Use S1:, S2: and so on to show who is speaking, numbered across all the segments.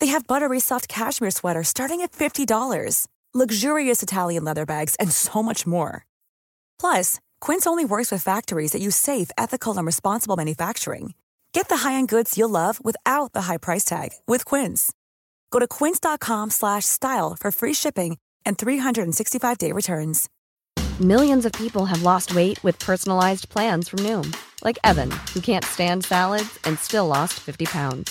S1: They have buttery soft cashmere sweaters starting at $50, luxurious Italian leather bags, and so much more. Plus, Quince only works with factories that use safe, ethical, and responsible manufacturing. Get the high-end goods you'll love without the high price tag with Quince. Go to quince.com/style slash style for free shipping and 365-day returns.
S2: Millions of people have lost weight with personalized plans from Noom, like Evan, who can't stand salads and still lost 50 pounds.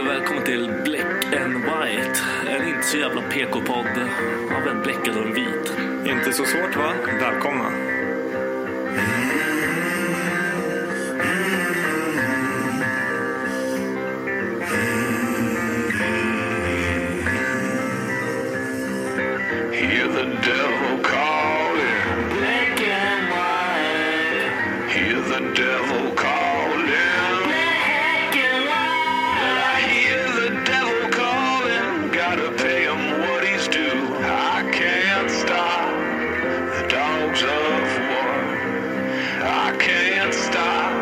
S3: och välkommen till Black and White. En inte så jävla PK-podd av en bläckad och en vit.
S4: Inte så svårt va? Välkomna.
S5: Hear the devil calling. Black and white. Hear the devil calling. Black and white. I hear the devil calling. Gotta pay him what he's due. I can't stop the dogs of war. I can't stop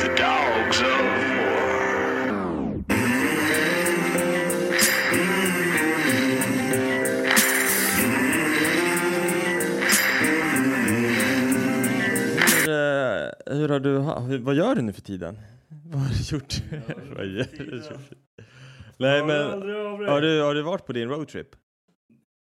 S5: the dogs of war.
S6: Hur, eh, hur har du, ha- hur, vad gör du nu för tiden? Vad har du gjort? vad gör du? Nej men, har du, har du varit på din roadtrip?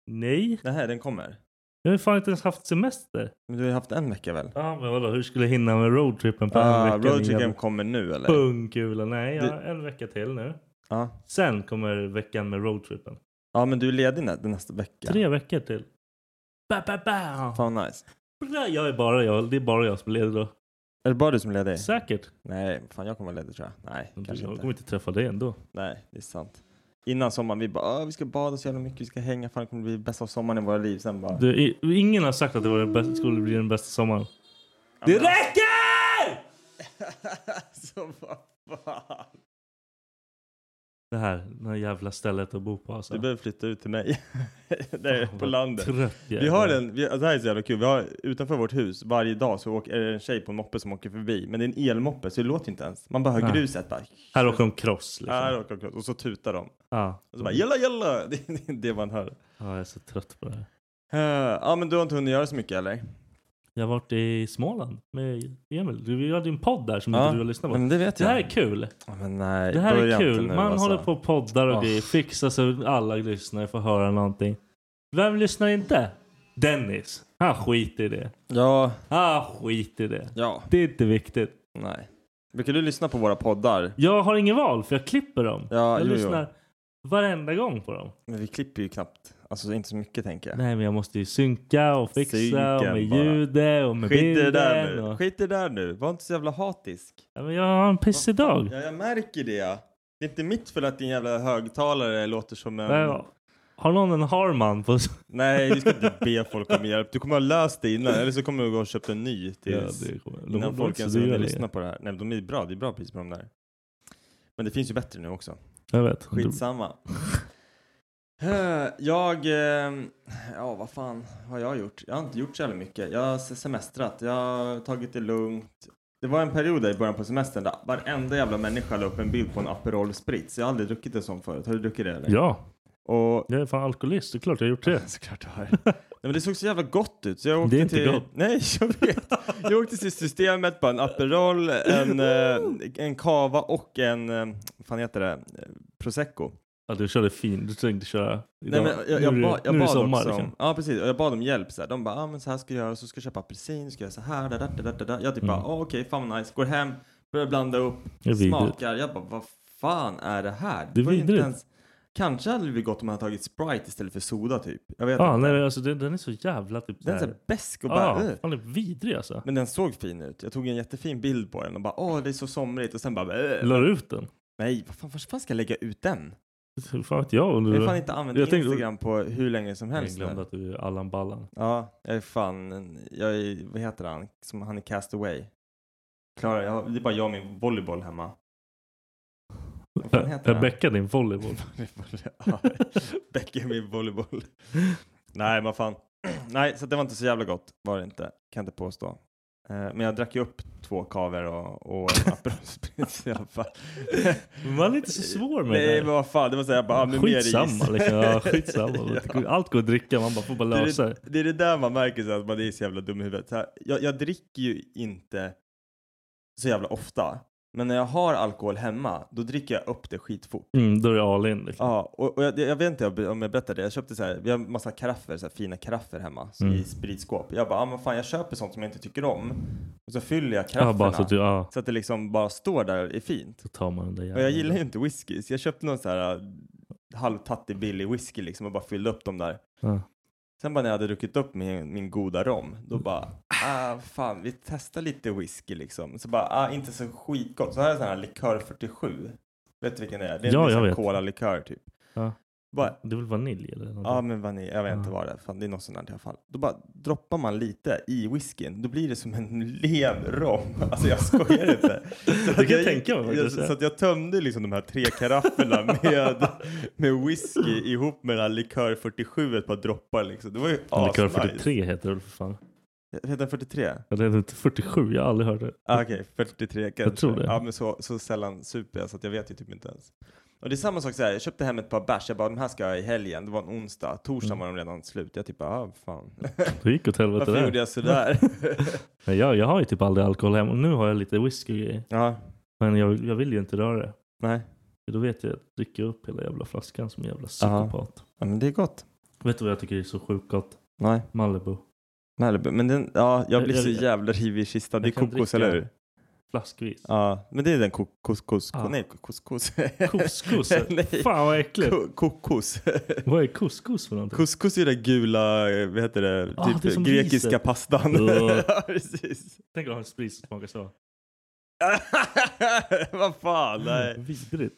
S4: Nej,
S6: Nej, den kommer.
S4: jag har fan inte ens haft semester.
S6: Men du har ju haft en vecka väl?
S4: Ja, men vadå, hur skulle jag hinna med roadtrippen på en
S6: Ah,
S4: vecka?
S6: roadtripen kommer nu eller?
S4: Pungkula. Nej, jag
S6: Du-
S4: har en vecka till nu.
S6: Ja.
S4: Sen kommer veckan med roadtrippen.
S6: ja, men du är ledig nä- nästa vecka.
S4: Tre veckor till. Ba, ba, ba.
S6: Fan vad nice.
S4: Bra, Jag är bara jag. Det är bara jag som är ledig då.
S6: Är det bara du som är ledig?
S4: Säkert.
S6: Nej, fan jag kommer vara ledig tror jag. Nej,
S4: Jag
S6: kanske
S4: kommer
S6: inte.
S4: inte träffa dig ändå.
S6: Nej, det är sant. Innan sommaren, vi bara "Ah, vi ska bada så jävla mycket, vi ska hänga, fan det kommer bli bästa sommaren i våra liv. Sen bara...
S4: Du, i- ingen har sagt att det var den bästa, skulle bli den bästa sommaren.
S6: Det räcker! alltså vad fan.
S4: Det här, det här jävla stället att bo på alltså.
S6: Du behöver flytta ut till mig. Där
S4: Fan,
S6: på
S4: vad
S6: landet.
S4: Trött jag
S6: Vi
S4: är.
S6: har en, vi, alltså, det här är så jävla kul. Vi har, utanför vårt hus varje dag så åker, är det en tjej på en moppe som åker förbi. Men det är en elmoppe så det låter ju inte ens. Man bara hör
S4: Nej.
S6: gruset bara.
S4: Här åker de cross liksom.
S6: Här åker de. Och så tutar de.
S4: Ja.
S6: Och så bara jalla jalla. Det är det man hör.
S4: ja, jag är så trött på det här.
S6: Eh, ja men du har inte hunnit göra så mycket eller?
S4: Jag har varit i Småland med Emil. Du, vi hade ju en podd där som
S6: Ja,
S4: inte du har lyssnat på.
S6: Men det vet
S4: Det
S6: jag.
S4: här är kul.
S6: Ja, men nej,
S4: Det här är
S6: börja inte
S4: kul.
S6: nu,
S4: Man
S6: alltså.
S4: håller på och poddar och
S6: Ah.
S4: grejer. Fixar så alla lyssnare får höra någonting. Vem lyssnar inte? Dennis. Han skiter i det.
S6: Ja,
S4: Han skiter i det.
S6: ja,
S4: Det är inte viktigt.
S6: nej. Brukar du lyssna på våra poddar?
S4: Jag har ingen val för jag klipper dem.
S6: Ja,
S4: jag
S6: jo, jo.
S4: lyssnar varenda gång på dem.
S6: Men vi klipper ju knappt. Alltså inte så mycket tänker jag.
S4: Nej men jag måste ju synka och fixa och
S6: Synken
S4: med
S6: bara.
S4: ljudet och med
S6: Skit i
S4: bilden.
S6: det där nu.
S4: Och...
S6: Skit i det där nu. Var inte så jävla hatisk.
S4: Ja, men jag har en pissig dag.
S6: Ja, jag märker det. Det är inte mitt fel att din jävla högtalare låter som en...
S4: Men, Har någon en Harman på sig?
S6: Nej, du ska inte be folk om hjälp. Du kommer ha löst det innan, eller så kommer du gå och köpa en ny tills... innan folk ens hunnit lyssna på det här. Nej, men de är bra. Det är bra pris på de där. Men det finns ju bättre nu också.
S4: Jag vet.
S6: Skitsamma. Eh, Jag, ehm, ja vad fan har jag gjort? Jag har inte gjort så jävla mycket. Jag har se- semestrat, jag har tagit det lugnt. Det var en period där i början på semestern där varenda jävla människa la upp en bild på en Aperol Spritz. Jag har aldrig druckit en sån förut. Har du druckit det eller?
S4: Ja,
S6: Och...
S4: jag är fan alkoholist. Det är klart jag har gjort det.
S6: Såklart du har. Nej, men det såg så jävla gott ut. Så jag åkte
S4: Det är inte
S6: till...
S4: gott.
S6: Nej, jag vet. Jag åkte till systemet på en Aperol, en, eh, en Cava och en, eh, vad fan heter det, Eh, Prosecco.
S4: Ja, du körde fin. Du tänkte köra
S6: Nej,
S4: idag.
S6: men jag, jag,
S4: nu är
S6: ba,
S4: det-
S6: jag
S4: nu är det
S6: bad
S4: sommar.
S6: också om,
S4: liksom.
S6: ja, precis, och jag bad om hjälp. Så här. De bara, ah, men så här ska jag göra, så ska jag köpa apelsin, ska jag göra så här, da, da, da, da, da, da. Jag typ bara, ah, okej, fan vad nice. Går hem, börjar blanda upp,
S4: Mm. Det är vidrigt.
S6: smakar. Jag bara, vad fan är det här?
S4: Det är
S6: var ju inte
S4: vidrigt.
S6: ens- Kanske hade det blivit gott om man hade tagit Sprite istället för soda typ. Jag vet
S4: Ja,
S6: inte.
S4: nej, Ah. men alltså, den, den är så jävla typ
S6: Den Äh. är
S4: så
S6: så
S4: här-
S6: här besk och bara,
S4: Ja,
S6: "Ugh."
S4: fan, den är vidrig alltså.
S6: Men den såg fin ut. Jag tog en jättefin bild på den och bara, åh, det är så somrigt. Och sen bara, "Ugh."
S4: La du ut den?
S6: nej, vad fan, vad fan ska jag lägga ut den?
S4: Hur fan vet jag?
S6: Jag har fan inte använt
S4: Jag tänkte-
S6: Instagram på hur länge som
S4: Jag
S6: helst. nu.
S4: glömde att du är Allan Ballan.
S6: Ja, jag är fan, en- jag är, vad heter han, som han är cast away. Klara, jag, det är bara jag och min volleyboll hemma. Vad fan heter
S4: Jag
S6: han?
S4: bäckade din volleyboll.
S6: Ja, Beck är min volleyboll. Nej, vad fan. Nej, så det var inte så jävla gott, var det inte. Kan inte påstå. Eh, Men jag drack ju upp två kaver och, och en Aperol Spritz i alla fall.
S4: Man är inte så svår med
S6: Nej,
S4: det
S6: men vad fan, det var så här, jag bara, ah, men mer is.
S4: Skitsamma liksom. Ja, skitsamma.
S6: Ja.
S4: Allt går att dricka, man bara får bara
S6: Det är
S4: lösa det.
S6: det, det är det där man märker så här, att man är så jävla dum i huvudet. Så här, jag, jag dricker ju inte så jävla ofta. Men när jag har alkohol hemma, då dricker jag upp det skitfort.
S4: Mm, då är det all in liksom.
S6: Ja, och, och jag, jag vet inte om jag berättade det. Jag köpte så här, vi har massa karaffer, så här, fina karaffer hemma så
S4: Mm.
S6: i spritskåp. Jag bara, ah, men fan jag köper sånt som jag inte tycker om. Och så fyller jag
S4: Ja,
S6: karafferna.
S4: bara så att du, ja,
S6: så att det liksom bara står där och är fint.
S4: så tar man den där
S6: Och jag gillar ju
S4: jäveln.
S6: inte whisky, så jag köpte någon så här äh, halvtattig billig whisky liksom och bara fyllde upp dem där.
S4: Ja.
S6: Sen bara när jag hade druckit upp min, min goda rom,
S4: Mm.
S6: då bara, ah fan, vi testar lite whisky liksom. Så bara, ah inte så skitgott. Så här är sån här likör 47. Vet du vilken det är? Det är
S4: Ja,
S6: en
S4: jag
S6: sån
S4: vet.
S6: cola-likör typ.
S4: Ja.
S6: Bara,
S4: Det är väl vanilj eller
S6: ja
S4: någonting?
S6: men vanilj, jag vet inte
S4: Ja.
S6: vad det är. Fan, det är något sånt här i alla fall. Då bara droppar man lite i whiskyn, då blir det som en lev rom. Alltså jag skojar inte. Så
S4: Det
S6: att
S4: kan jag tänka mig
S6: jag,
S4: faktiskt.
S6: Så att jag tömde liksom de här tre karafferna med, med whisky ihop med den här likör 47 ett par droppar liksom. Det var ju
S4: Ja, Likör
S6: asnice.
S4: 43 heter det väl för fan.
S6: Heter den 43?
S4: Ja, Det heter inte 47, jag har aldrig hört det.
S6: Ah, Okej, 43 kanske.
S4: tror det.
S6: Ja, men så, så sällan super jag så att jag vet ju typ inte ens. Och det är samma sak så här, jag köpte hem ett par bärs, jag bara de här ska jag i helgen, det var en onsdag, torsdag var de redan slut. Jag typ bara, ah, fan.
S4: Mm. Det gick åt helvete
S6: Varför gjorde
S4: där.
S6: jag sådär?
S4: Men jag, jag har ju typ aldrig alkohol hemma. Nu har jag lite whisky och grejer.
S6: ja,
S4: Men jag, jag vill ju inte röra det.
S6: nej.
S4: För Då vet jag att jag dricker upp hela jävla flaskan som en jävla psykopat.
S6: Ja, men det är gott.
S4: Vet du vad jag tycker är så sjukt gott?
S6: Nej,
S4: Malibu.
S6: Malibu. Men den, ja, jag
S4: Jag-
S6: blir så
S4: jag-
S6: jävla rivig i kistan. Det är
S4: jag kan
S6: kokos,
S4: dricka-
S6: eller hur?
S4: Flaskvis.
S6: Ja, men det är den ko- kos, kos, ko-
S4: Ja.
S6: nej, ko- couscous.
S4: Couscous?
S6: nej,
S4: Fan vad äckligt.
S6: ko- kokos.
S4: Vad är couscous för någonting?
S6: Couscous är den gula, eh, vad heter det,
S4: Ah,
S6: typ
S4: det är som
S6: grekiska
S4: riset.
S6: pastan.
S4: Ugh.
S6: Ja, precis.
S4: Tänk att ha en sprit som smakar så.
S6: vad fan, nej.
S4: Vidrigt.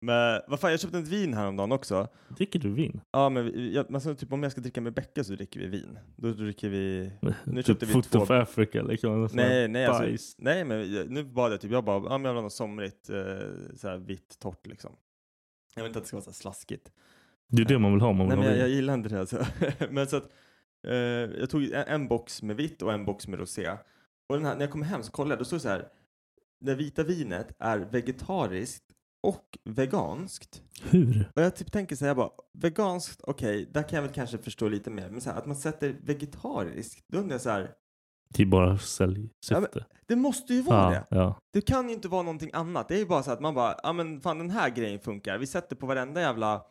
S6: Men vad fan, jag köpte ett vin häromdagen också.
S4: Dricker du vin?
S6: Ja, men vi- jag, men så typ om jag ska dricka med Becka så dricker vi vin. Då dricker vi Nu köpte vi
S4: Typ Foot
S6: två-
S4: of Africa liksom. någon sån här
S6: Nej, nej, alltså,
S4: bajs.
S6: nej men jag- nu bad jag typ, jag bara, ja men jag vill ha något somrigt, eh, såhär vitt, torrt liksom. Jag vill inte att det ska vara så här slaskigt.
S4: Det är det man vill ha om man
S6: nej
S4: vill
S6: men
S4: ha
S6: jag, jag
S4: vin.
S6: gillar inte det alltså. men så att, eh, jag tog en, en box med vitt och en box med rosé. Och den här, när jag kom hem så kollade jag, då stod det så här, det vita vinet är vegetariskt och veganskt.
S4: Hur?
S6: Och jag typ tänker så här, jag bara, veganskt, okej, där kan jag väl kanske förstå lite mer. Men så här, att man sätter vegetariskt, då undrar jag så här,
S4: Det är bara säljsyfte.
S6: det måste ju vara det.
S4: ja.
S6: Det kan ju inte vara någonting annat. Det är ju bara så att man bara, ja ah, men fan den här grejen funkar. Vi sätter på varenda jävla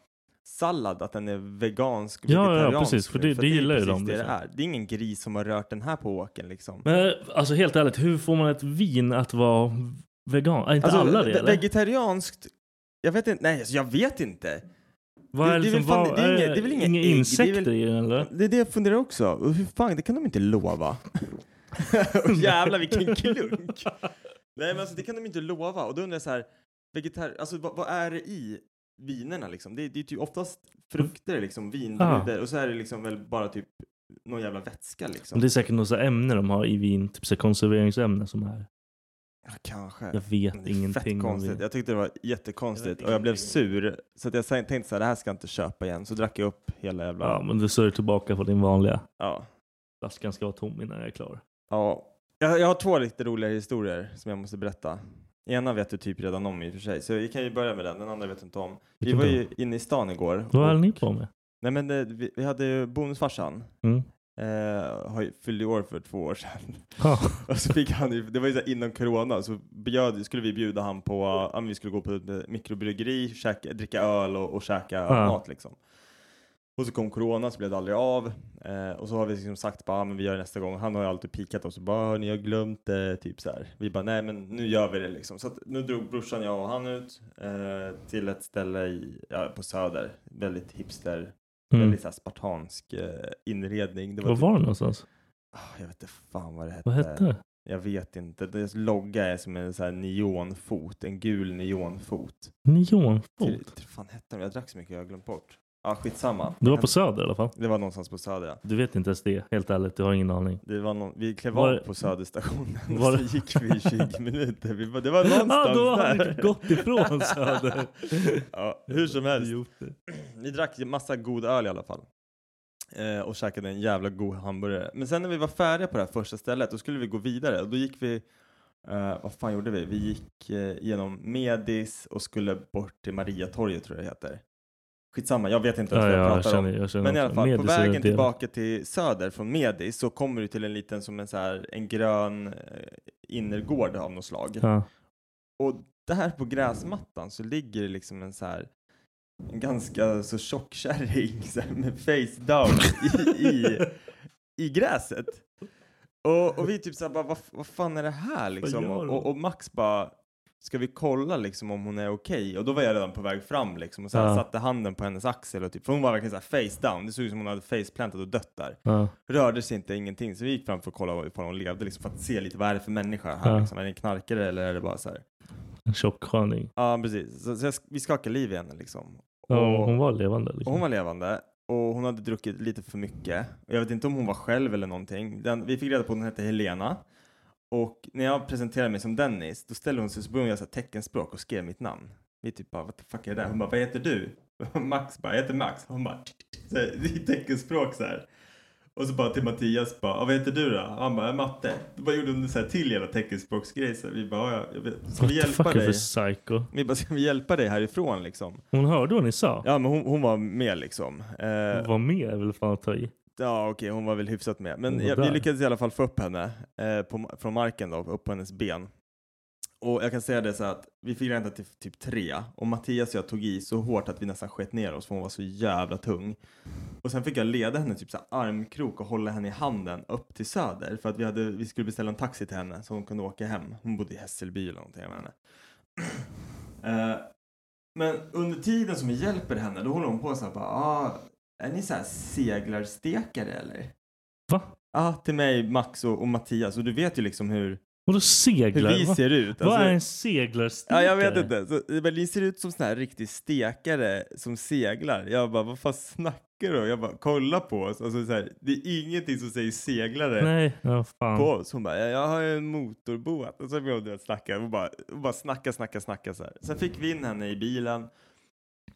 S6: sallad att den är vegansk,
S4: Ja, ja,
S6: vegetariansk
S4: precis, för
S6: nu,
S4: det- det
S6: är ju
S4: gillar ju
S6: precis
S4: de,
S6: Det, det,
S4: liksom.
S6: är. det är ingen gris som har rört den här på åken liksom.
S4: Men alltså helt ärligt, hur får man ett vin att vara vegan? Är inte
S6: Alltså,
S4: alla det
S6: ve-
S4: eller?
S6: Vegetarianskt, jag vet inte, nej alltså, jag vet inte.
S4: Vad
S6: det- det är
S4: är liksom-
S6: väl fan-
S4: vad
S6: det är
S4: är-
S6: inget- det är väl inga ägg, det är
S4: insekter
S6: väl-
S4: i den eller?
S6: Det är det jag funderar också. Och Hur fan, det kan de inte lova. Och Jävlar vilken klunk. Nej men alltså det kan de inte lova. Och då undrar jag så här, vegetar- alltså, vad, vad är det i vinerna liksom? Det, det är typ oftast frukter liksom,
S4: Ah.
S6: vinbryddor. Och så är det liksom väl bara typ någon jävla vätska liksom.
S4: Men Det är säkert något så här ämne de har i vin, typ så här konserveringsämne som är
S6: Ja, Kanske.
S4: Jag vet
S6: Men det är
S4: ingenting
S6: Fett
S4: om
S6: konstigt.
S4: vin.
S6: Jag tyckte det var jättekonstigt
S4: Jag
S6: och jag blev
S4: ingenting.
S6: sur. Så att jag sa- tänkte så här, det här ska jag inte köpa igen. Så drack jag upp hela jävla...
S4: Ja, men du ser tillbaka på din vanliga.
S6: ja.
S4: Flaskan ska vara tom innan jag är klar.
S6: Ja. Jag, jag har två lite roliga historier som jag måste berätta. Ena vet du typ redan om i och för sig, så vi kan ju börja med den. Den andra vet du inte om. Vi
S4: Vilken
S6: var
S4: då?
S6: ju inne i stan igår.
S4: Vad höll
S6: och-
S4: ni på med?
S6: Nej men det, vi, vi hade ju bonusfarsan.
S4: Mm.
S6: Eh, har ju- fyllde ju år för två år sedan.
S4: Ja.
S6: Och så fick han ju, det var ju så här innan corona, så bjöd, skulle vi bjuda han på, ja men vi skulle gå på ett eh, mikrobryggeri, käka, dricka öl och, och käka
S4: Ja.
S6: mat liksom. Och så kom corona så blev det aldrig av. Eh, och så har vi liksom sagt bara, ah, men vi gör det nästa gång. Han har ju alltid pikat oss och bara, "Hörni, jag har glömt det, typ så här. Vi bara, nej men nu gör vi det liksom. Så att, nu drog brorsan, jag och han ut eh, till ett ställe i, ja, på Söder, väldigt hipster,
S4: Mm.
S6: väldigt så här spartansk eh, inredning. Det
S4: Var
S6: typ- Eh,
S4: var det någonstans?
S6: Ah, Jag vet inte fan vad det hette.
S4: Vad hette det?
S6: Jag vet inte. Deras logga är som en så här neonfot, en gul neonfot. Till,
S4: Neonfot?
S6: till, fan hette de? Jag drack så mycket jag har glömt bort. Ja, ah, skitsamma.
S4: Du var på Söder i alla fall.
S6: Det var någonstans på Söder, ja.
S4: Du vet inte ens det, helt ärligt. Du har ingen aning.
S6: Det var någon, vi klev
S4: Var-
S6: av på Söderstationen
S4: var-
S6: och så gick vi i 20 minuter. Vi bara, det var någonstans
S4: ah, då har
S6: där.
S4: han gått ifrån Söder.
S6: ja, hur som helst.
S4: Gjort det.
S6: Vi drack massa god öl i alla fall. Eh, och käkade en jävla god hamburgare. Men sen när vi var färdiga på det här första stället, då skulle vi gå vidare. Och då gick vi, eh, vad fan gjorde vi? Vi gick eh, genom Medis och skulle bort till Mariatorget tror jag det heter. Skitsamma, jag vet inte ens
S4: Ja,
S6: vad jag
S4: ja, jag
S6: pratar
S4: känner,
S6: om.
S4: jag känner
S6: Men i
S4: också.
S6: alla fall, på
S4: Medis är
S6: vägen
S4: en del.
S6: tillbaka till söder från Medis så kommer du till en liten som en, så här, en grön eh, innergård av något slag.
S4: Ja.
S6: Och där på gräsmattan så ligger det liksom en så här en ganska så tjock kärring så här, med face down i, i, i gräset. Och, och vi typ såhär bara, vad, vad fan är det här liksom?
S4: gör
S6: Och,
S4: hon?
S6: och, och Max bara, ska vi kolla liksom om hon är okej? Och då var jag redan på väg fram liksom och så här,
S4: Ja.
S6: satte handen på hennes axel och typ, för hon var verkligen såhär face down, det såg ut som hon hade faceplantat och dött där
S4: Ja.
S6: rörde sig inte, ingenting. Så vi gick fram för att kolla ifall hon levde, liksom, för att se lite vad är det för människa här.
S4: Ja.
S6: Liksom. Är det en knarkare eller är det bara så här?
S4: En tjock sköning.
S6: Ja, precis. Så, så jag, sk- vi skakade liv i henne liksom.
S4: Ja,
S6: Och-
S4: hon var levande.
S6: Och
S4: Liksom.
S6: hon var levande och hon hade druckit lite för mycket. Och jag vet inte om hon var själv eller någonting. Den, vi fick reda på att hon hette Helena. Och när jag presenterade mig som Dennis, då ställde hon sig så började hon göra så här teckenspråk och skrev mitt namn. Vi typ bara, what the fuck är det där? Hon bara, vad heter du? Max bara, jag heter Max. Hon bara, så här, i teckenspråk så här. Och så bara till Mattias bara, "Ah, vad heter du då? Han bara, "Jag är matte. Då bara gjorde hon så här till hela teckenspråksgrej. Så här, vi bara, "Ja, jag vet. ska
S4: What
S6: vi
S4: the fuck
S6: hjälpa
S4: är det för
S6: dig?
S4: psycho?
S6: Vi bara, ska vi hjälpa dig härifrån liksom?
S4: Hon hörde vad ni sa.
S6: Ja, men hon, hon var med liksom. Eh,
S4: Var med är väl fan att ta i.
S6: Ja, okej, hon var väl hyfsat med.
S4: Hon
S6: Men
S4: var
S6: jag, vi
S4: där.
S6: lyckades i alla fall få upp henne eh, på, ma- från marken då, upp på hennes ben. Och jag kan säga det så här att vi fick vänta till typ tre och Mattias och jag tog i så hårt att vi nästan sket ner oss för hon var så jävla tung. Och sen fick jag leda henne typ så här armkrok och hålla henne i handen upp till söder för att vi, hade, vi skulle beställa en taxi till henne så hon kunde åka hem. Hon bodde i Hässelby eller någonting, jag menar. Eh, men under tiden som vi hjälper henne, då håller hon på så här bara, ah, är ni så här seglarstekare eller?
S4: Va?
S6: Ja, till mig, Max och, och Mattias. Och du vet ju liksom hur,
S4: Vadå
S6: hur
S4: seglar?
S6: vi
S4: Va?
S6: ser ut.
S4: Vad är
S6: Alltså,
S4: en seglarstekare?
S6: ja, jag vet inte. Så, men ni ser ut som sån här riktig stekare som seglar. Jag bara, vad fan snackar du om? Jag bara, kolla på oss. Alltså, så här, det är ingenting som säger seglare
S4: Nej, ja fan.
S6: på oss. Hon bara, "Ja, jag har ju en motorbåt. Alltså, Och så började hon att snacka. Hon bara, hon bara snacka, snacka, snacka så här. Sen fick vi in henne i bilen.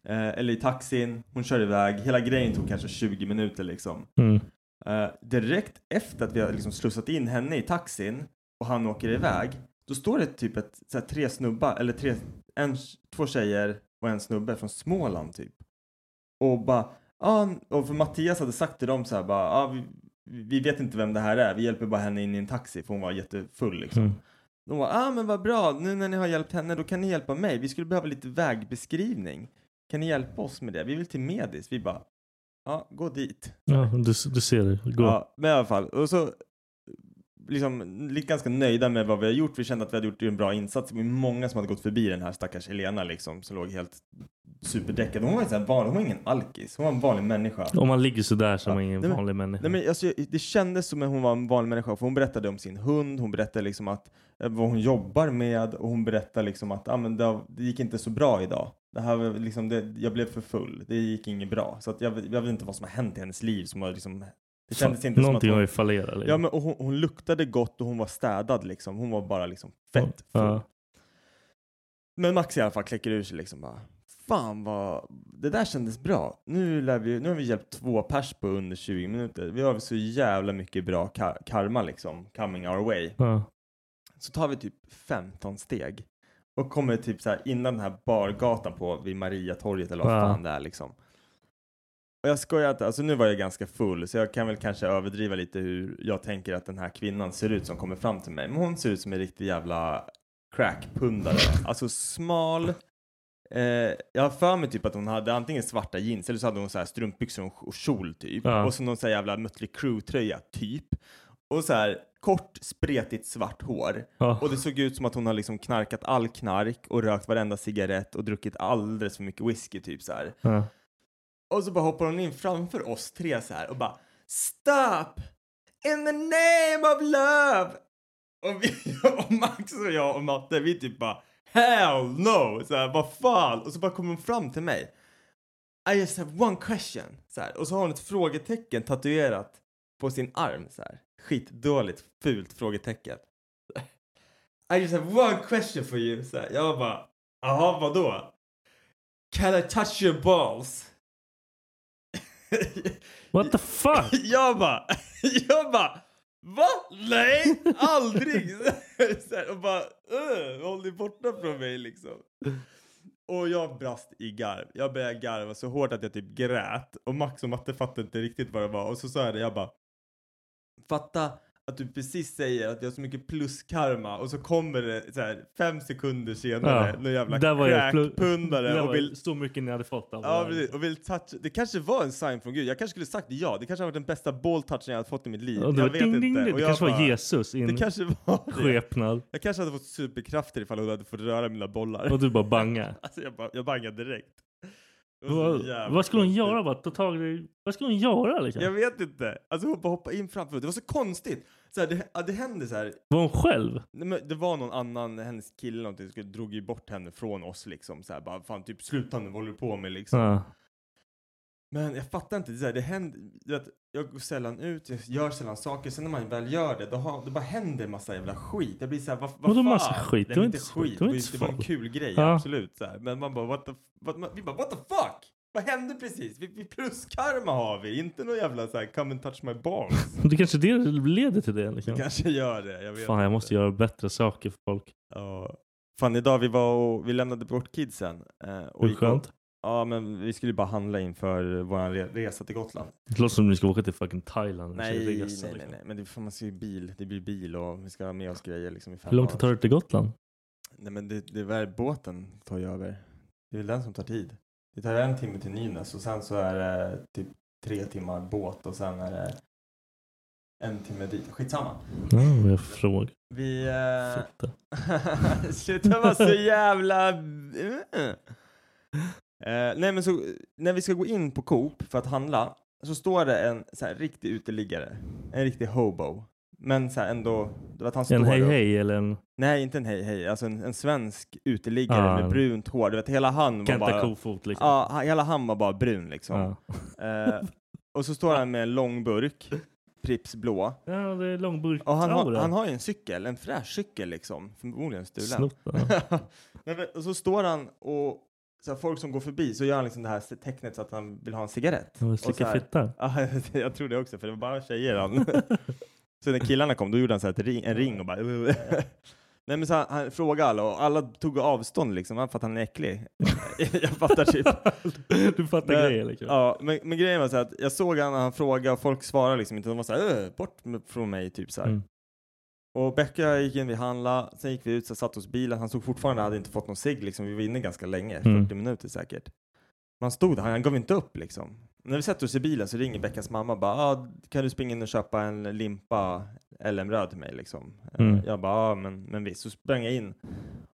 S6: Eh, eller i taxin. Hon körde iväg. Hela grejen tog kanske 20 minuter liksom.
S4: Mm.
S6: Eh, direkt efter att vi har liksom slussat in henne i taxin och han åker iväg. Då står det typ ett, så här, tre snubbar, eller tre, en, två tjejer och en snubbe från Småland typ. Och bara, ja, och för Mattias hade sagt till dem så här bara, ja, vi, vi vet inte vem det här är, vi hjälper bara henne in i en taxi för hon var jättefull liksom.
S4: Mm.
S6: De bara, ah men vad bra, nu när ni har hjälpt henne då kan ni hjälpa mig, vi skulle behöva lite vägbeskrivning. Kan ni hjälpa oss med det? Vi vill till Medis. Vi bara, ja, gå dit.
S4: Ja, du, du ser det. Gå.
S6: Ja, men i alla fall. Och så liksom lite ganska nöjda med vad vi har gjort. Vi kände att vi hade gjort en bra insats. Det var många som hade gått förbi den här stackars Helena liksom som låg helt superdäckad. Hon var ju så här vanlig, hon var ingen alkis. Hon var en vanlig människa.
S4: Om man ligger sådär som
S6: Ja.
S4: man är en
S6: Nej, men-
S4: vanlig människa.
S6: Nej, men alltså, det kändes som att hon var en vanlig människa för hon berättade om sin hund, hon berättade liksom att, eh, vad hon jobbar med och hon berättade liksom att ah, men det, har- det gick inte så bra idag. Det här var liksom, det, jag blev för full, det gick inget bra. Så att jag, jag vet inte vad som har hänt i hennes liv som har liksom Det kändes
S4: Fan,
S6: inte som att
S4: Någonting har
S6: hon,
S4: ju fallerat. liksom.
S6: ja, men, och hon, hon luktade gott och hon var städad liksom. Hon var bara liksom fett full.
S4: Ja.
S6: Men Max i alla fall kläcker ur sig liksom bara. Fan vad, det där kändes bra. Nu, lär vi, nu har vi hjälpt två pers på under 20 minuter. Vi har så jävla mycket bra ka- karma liksom, coming our way.
S4: Ja.
S6: Så tar vi typ 15 steg och kommer typ så här innan den här bargatan på vid Mariatorget eller vad
S4: Ja.
S6: fan det är liksom. Och jag skojar inte, alltså nu var jag ganska full så jag kan väl kanske överdriva lite hur jag tänker att den här kvinnan ser ut som kommer fram till mig. Men hon ser ut som en riktig jävla crackpundare. Alltså smal. Eh, jag har för mig typ att hon hade antingen svarta jeans eller så hade hon så här strumpbyxor och- och kjol typ.
S4: Ja.
S6: Och så någon så här jävla Mötley Crüe-tröja typ. Och så här kort spretigt svart hår.
S4: Ja.
S6: Och det såg ut som att hon har liksom knarkat all knark och rökt varenda cigarett och druckit alldeles för mycket whisky typ så här.
S4: Ja.
S6: Och så bara hoppar hon in framför oss tre så här och bara Stop! In the name of love! Och, vi, och Max och jag och Matte vi typ bara Hell no! Så här, vad fan? Och så bara kommer hon fram till mig I just have one question. Så här. Och så har hon ett frågetecken tatuerat på sin arm så här. Skitdåligt, fult frågetecken. I just have one question for you. Så här. Jag bara, jaha vadå? Can I touch your balls?
S4: What the fuck?
S6: jag bara, jag bara, va? Nej, aldrig! så här, och bara, uh, håll dig borta från mig liksom. Och jag brast i garv. Jag började garva så hårt att jag typ grät. Och Max och Matte fattade inte riktigt vad det var. Och så sa jag det, jag bara, fatta att du precis säger att jag har så mycket pluskarma och så kommer det så här, fem sekunder senare
S4: Ja.
S6: någon jävla
S4: Där var jag plus-
S6: crackpundare
S4: Det
S6: och
S4: var
S6: vill
S4: Så mycket ni hade fått av
S6: Ja,
S4: det.
S6: precis. Och vill touch... Det kanske var en sign från Gud. Jag kanske skulle sagt ja. Det kanske har varit den bästa bolltouchen jag har fått i mitt liv.
S4: Och det
S6: jag
S4: var ding, ding, ding.
S6: Och
S4: Det
S6: jag
S4: kanske var
S6: bara-
S4: Jesus i
S6: Det
S4: en
S6: kanske var det.
S4: skepnad.
S6: Jag kanske hade fått superkrafter ifall hon hade fått röra mina bollar.
S4: Och du bara bangar.
S6: Alltså jag, bara, jag bangade direkt. Det var så
S4: Vad,
S6: jävla
S4: vad skulle hon
S6: konstigt.
S4: göra? Bara ta tag i Vad skulle hon göra liksom?
S6: Jag vet inte. Alltså hon bara hoppade in framför. Det var så konstigt. Så här, det, ja, det hände så här.
S4: Var hon själv?
S6: Nej, men det var någon annan, hennes kille eller någonting, som drog ju bort henne från oss liksom. Så här, bara fan typ sluta nu, vad håller du på med liksom?
S4: Ja.
S6: Men jag fattar inte, det, är så här, det händer, du vet, jag går sällan ut, jag gör sällan saker, sen när man väl gör det, då, har, då bara händer massa jävla skit. Jag blir såhär, vad, vad
S4: Vadå
S6: fan?
S4: massa skit?
S6: Nej,
S4: Det
S6: men
S4: var inte så-
S6: skit,
S4: det var
S6: ju-
S4: inte
S6: det var en
S4: så.
S6: kul grej,
S4: Ja.
S6: absolut. Så här. Men man bara, what the, f- what, man, vi bara, what the fuck? Vad hände precis? Vi, vi pluskarma har vi, inte någon jävla såhär, come and touch my balls.
S4: Det kanske det leder till det liksom.
S6: Kanske gör det, jag vet
S4: Fan, jag
S6: inte.
S4: måste göra bättre saker för folk.
S6: Ja. Fan, idag vi var och, vi lämnade bort kidsen. Eh, och
S4: Hur
S6: gick-
S4: skönt?
S6: Ja, men vi skulle ju bara handla inför vår re- resa till Gotland.
S4: Det låter som att ni ska åka till fucking Thailand. och
S6: Nej,
S4: köra
S6: nej,
S4: resa,
S6: nej,
S4: liksom.
S6: nej, men det får man se i bil. Det blir bil och vi ska ha med oss grejer liksom i fem
S4: Hur långt
S6: dagar.
S4: tar det till Gotland?
S6: Nej, men det, det är väl båten tar ju över. Det är väl den som tar tid. Det tar en timme till Nynäs och sen så är det typ tre timmar båt och sen är det en timme dit. Skitsamma.
S4: Ja, jag frågar.
S6: Vi... Eh...
S4: Fitta.
S6: Sluta vara så jävla... Eh. Eh, nej men så, när vi ska gå in på Coop för att handla så står det en så här, riktig uteliggare, en riktig hobo. Men så här, ändå, det var att han står
S4: En hej
S6: upp.
S4: hej eller en
S6: Nej inte en hej hej, alltså en, en svensk uteliggare
S4: Ah.
S6: med brunt hår. Du vet hela han var
S4: Kenta
S6: bara...
S4: Kofot liksom. Ah.
S6: Ja, han- hela han var bara brun liksom.
S4: Ja.
S6: Eh, och så står han med en lång burk, Pripps blå.
S4: Ja, det är långburk.
S6: Och han, har,
S4: aura.
S6: han har ju en cykel, en fräsch cykel liksom, förmodligen stulen.
S4: Snott, ja.
S6: Nej, men, och så står han och så här, folk som går förbi så gör han liksom det här tecknet så att han vill ha en cigarett.
S4: Han vill
S6: och så
S4: slicka
S6: här-
S4: fitta.
S6: Ja, jag tror det också för det var bara tjejer han. så när killarna kom då gjorde han så här ett ring, en ring och bara Nej men så han, han frågade alla och alla tog avstånd liksom för att han är äcklig. jag fattar typ.
S4: Du fattar
S6: Men-
S4: grejer liksom.
S6: Ja, men, men grejen var så här att jag såg han när han frågade och folk svarade liksom inte. De var så här, "Öh, bort med- från mig typ så här.
S4: Mm.
S6: Och Becka och jag gick in, vi handlade, sen gick vi ut, så satt oss i bilen. Han stod fortfarande, hade inte fått någon cigg liksom. Vi var inne ganska länge, 40
S4: Mm.
S6: minuter säkert. Men han stod där, han gav inte upp liksom. När vi sätter oss i bilen så ringer Beckas mamma bara, ah, kan du springa in och köpa en limpa LM-röd till mig liksom?
S4: Mm.
S6: Jag bara, ah, men, men visst. Så sprang jag in.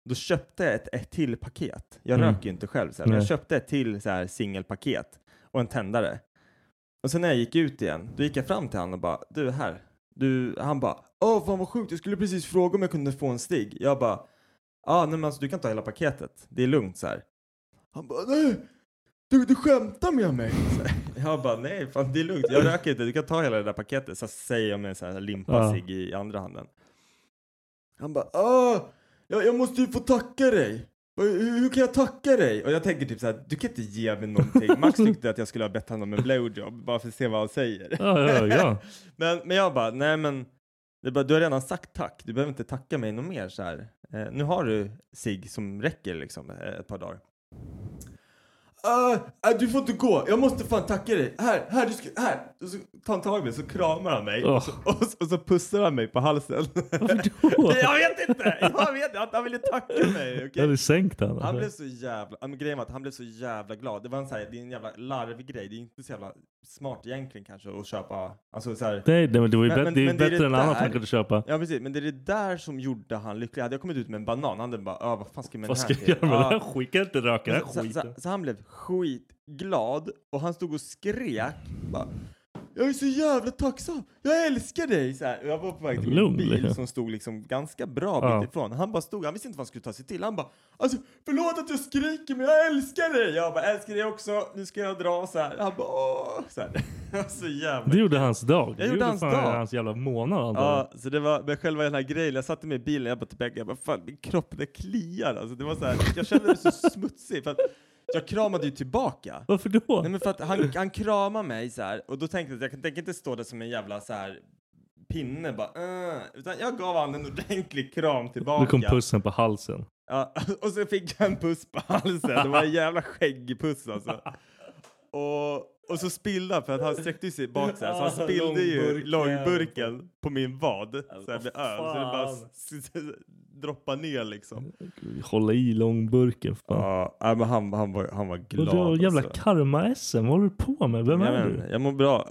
S6: Då köpte jag ett, ett till paket. Jag
S4: Mm.
S6: röker ju inte själv, så här, men jag
S4: Nej.
S6: köpte ett till så här, singelpaket och en tändare. Och sen när jag gick ut igen, då gick jag fram till honom och bara, du här. Du, han bara, åh fan vad sjukt, jag skulle precis fråga om jag kunde få en stig. Jag bara, ah, nej men alltså du kan ta hela paketet, det är lugnt så här. Han bara, nej, Du, du skämtar med mig! Så här. Jag bara, nej fan det är lugnt, jag röker inte, du kan ta hela det där paketet. Så säger jag med en sån här limpa
S4: Ja.
S6: sig i andra handen. Han bara, ah, jag, jag måste ju få tacka dig! Och Hur, hur kan jag tacka dig? Och jag tänker typ så här, du kan inte ge mig någonting. Max tyckte att jag skulle ha bett honom om en blowjob, bara för att se vad han säger.
S4: Ja, ja, ja.
S6: Men, men jag bara, nej men, det är bara, du har redan sagt tack, du behöver inte tacka mig något mer så här. Eh, nu har du sig som räcker liksom eh, ett par dagar. "Ah, ah, du får inte gå, jag måste fan tacka dig. Här, här, du ska, här. Och så tar han tag i mig så kramar han mig och, så, och, så, och så pussar han mig på halsen.
S4: Varför då?
S6: jag vet inte, jag vet inte, han, han ville tacka mig.
S4: Jag
S6: okej?
S4: hade sänkt den.
S6: Han blev så jävla, ja, men grejen var att han blev så jävla glad. Det var en så här, det är en jävla larvig grej, det är inte så jävla smart egentligen kanske att köpa, alltså så här,
S4: Nej, nej, men det var ju
S6: Men-
S4: bättre,
S6: men-
S4: det är ju
S6: men det är
S4: bättre
S6: det
S4: än annat
S6: där.
S4: han kunde köpa.
S6: Ja precis, men det är det där som gjorde han lycklig. Hade jag kommit ut med en banan hade han bara ah, vad fan ska jag med
S4: Vad
S6: den här
S4: ska jag
S6: till?"
S4: göra med den
S6: Ja.
S4: här skiten? Jag kan inte röka den här
S6: så, så, så,
S4: skiten.
S6: så han blev skitglad och han stod och skrek bara, Jag är så jävla tacksam, jag älskar dig! Så här, och jag var på väg till min
S4: Lugn,
S6: bil
S4: liksom.
S6: som stod liksom ganska bra
S4: Ja.
S6: bit ifrån. Han bara stod, han visste inte vad han skulle ta sig till. Han bara alltså, förlåt att jag skriker men jag älskar dig! Jag bara älskar dig också, nu ska jag dra så här. Han bara åh! Så, här. så jävla
S4: Det gjorde hans dag. Det
S6: gjorde hans
S4: fan
S6: dag.
S4: hans jävla månad antagligen.
S6: Ja, så det var men själva den här grejen. Jag satte mig i bilen, jag bara till Becka, jag bara fan min kropp den kliar alltså. Det var så här, jag kände mig så smutsig för att jag kramade ju tillbaka.
S4: Varför då?
S6: Nej men för att han, han kramade mig så här och då tänkte jag att jag kan- tänker inte stå där som en jävla så här pinne bara uh, utan jag gav han en ordentlig kram tillbaka.
S4: Nu kom pussen på halsen.
S6: Ja, och så fick jag en puss på halsen. Det var en jävla skäggpuss alltså. Och, och så spillde han för att han sträckte ju sig bak så här, så han
S4: Ah,
S6: spillde ju
S4: långburken. Alltså,
S6: långburken på min vad så här
S4: vad
S6: med öl. Så det bara
S4: fan.
S6: s- s- s- droppade ner liksom.
S4: Hålla i långburken. för Fan.
S6: Ja, nej, men han, han, var, han var
S4: Vad
S6: glad.
S4: drar jävla
S6: alltså.
S4: karma-SM? Vad håller du på med? Vem
S6: jag,
S4: är
S6: men,
S4: du?
S6: jag mår bra.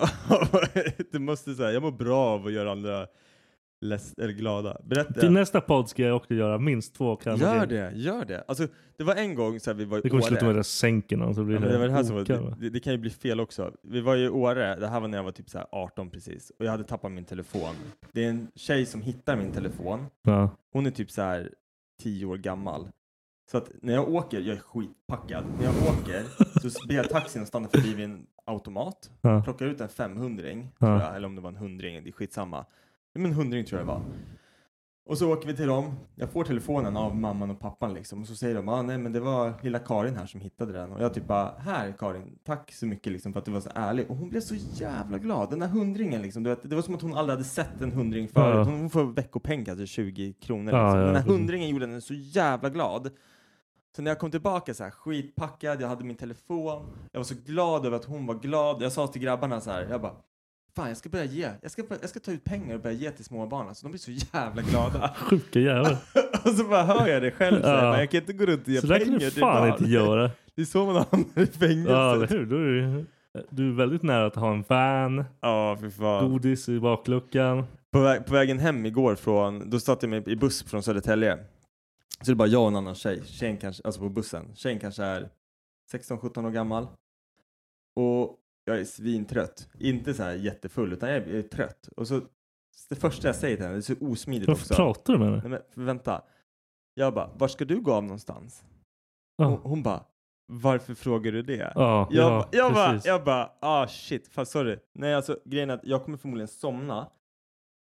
S6: det måste säga, jag mår bra av att göra andra less, eller glada. Berätta.
S4: Till nästa podd ska jag också göra minst två karma
S6: Gör det, gör det. Alltså, det var en gång så här, vi var i
S4: Det kommer
S6: Åre.
S4: sluta med att jag sänker någon så blir
S6: Ja, men det var det här som var,
S4: okarma.
S6: det, det, det kan ju bli fel också. Vi var ju i Åre, det här var när jag var typ så här 18 precis, och jag hade tappat min telefon. Det är en tjej som hittar min telefon.
S4: Ja.
S6: Hon är typ så här 10 år gammal. Så att när jag åker, jag är skitpackad, när jag åker så ber jag taxin att stanna förbi vid en automat,
S4: Ja.
S6: plockar ut en 500
S4: Ja.
S6: tror jag, eller om det var en 100 det är skitsamma. Ja, Men 100 tror jag det var. Och så åker vi till dem. Jag får telefonen av mamman och pappan liksom. Och så säger de, ah, nej men det var lilla Karin här som hittade den. Och jag typ bara, här Karin, tack så mycket liksom för att du var så ärlig. Och hon blev så jävla glad. Den där hundringen liksom, du vet, det var som att hon aldrig hade sett en hundring förut.
S4: Ja.
S6: Hon hon får veckopeng, alltså 20 kronor.
S4: Ja,
S6: Liksom.
S4: ja,
S6: den här
S4: precis.
S6: hundringen gjorde henne så jävla glad. Så när jag kom tillbaka så här skitpackad, jag hade min telefon, jag var så glad över att hon var glad. Jag sa till grabbarna så här, jag bara Fan, jag ska börja ge. Jag ska, börja- jag ska ta ut pengar och börja ge till småbarn. Alltså, de blir så jävla glada.
S4: Sjuka jävel.
S6: och så bara hör jag det själv. Så här,
S4: Ja.
S6: bara, jag kan inte gå runt och ge
S4: Så där kan
S6: pengar
S4: du
S6: till
S4: fan
S6: barn."
S4: inte göra.
S6: Det är så man hamnar i
S4: Ja,
S6: fängelse.
S4: eller hur? Då är du, du är väldigt nära att ha en van,
S6: Ja, fy fan.
S4: godis i bakluckan.
S6: På, väg, på vägen hem igår från, då satt jag mig i buss från Södertälje. Så det är bara jag och en annan tjej, tjejen kanske, alltså på bussen. Tjejen kanske är 16-17 år gammal. Och jag är svintrött. Inte så här jättefull, utan jag är, jag är trött. Och så det första jag säger till henne, det är så osmidigt
S4: Varför
S6: också.
S4: pratar du med henne?
S6: Nej men vänta. Jag bara, var ska du gå av någonstans? Hon,
S4: Ja,
S6: hon bara, varför frågar du det?
S4: ja,
S6: Jag,
S4: ja,
S6: ba- jag bara,
S4: precis.
S6: jag bara, ah shit, fan sorry. Nej alltså grejen är att jag kommer förmodligen somna.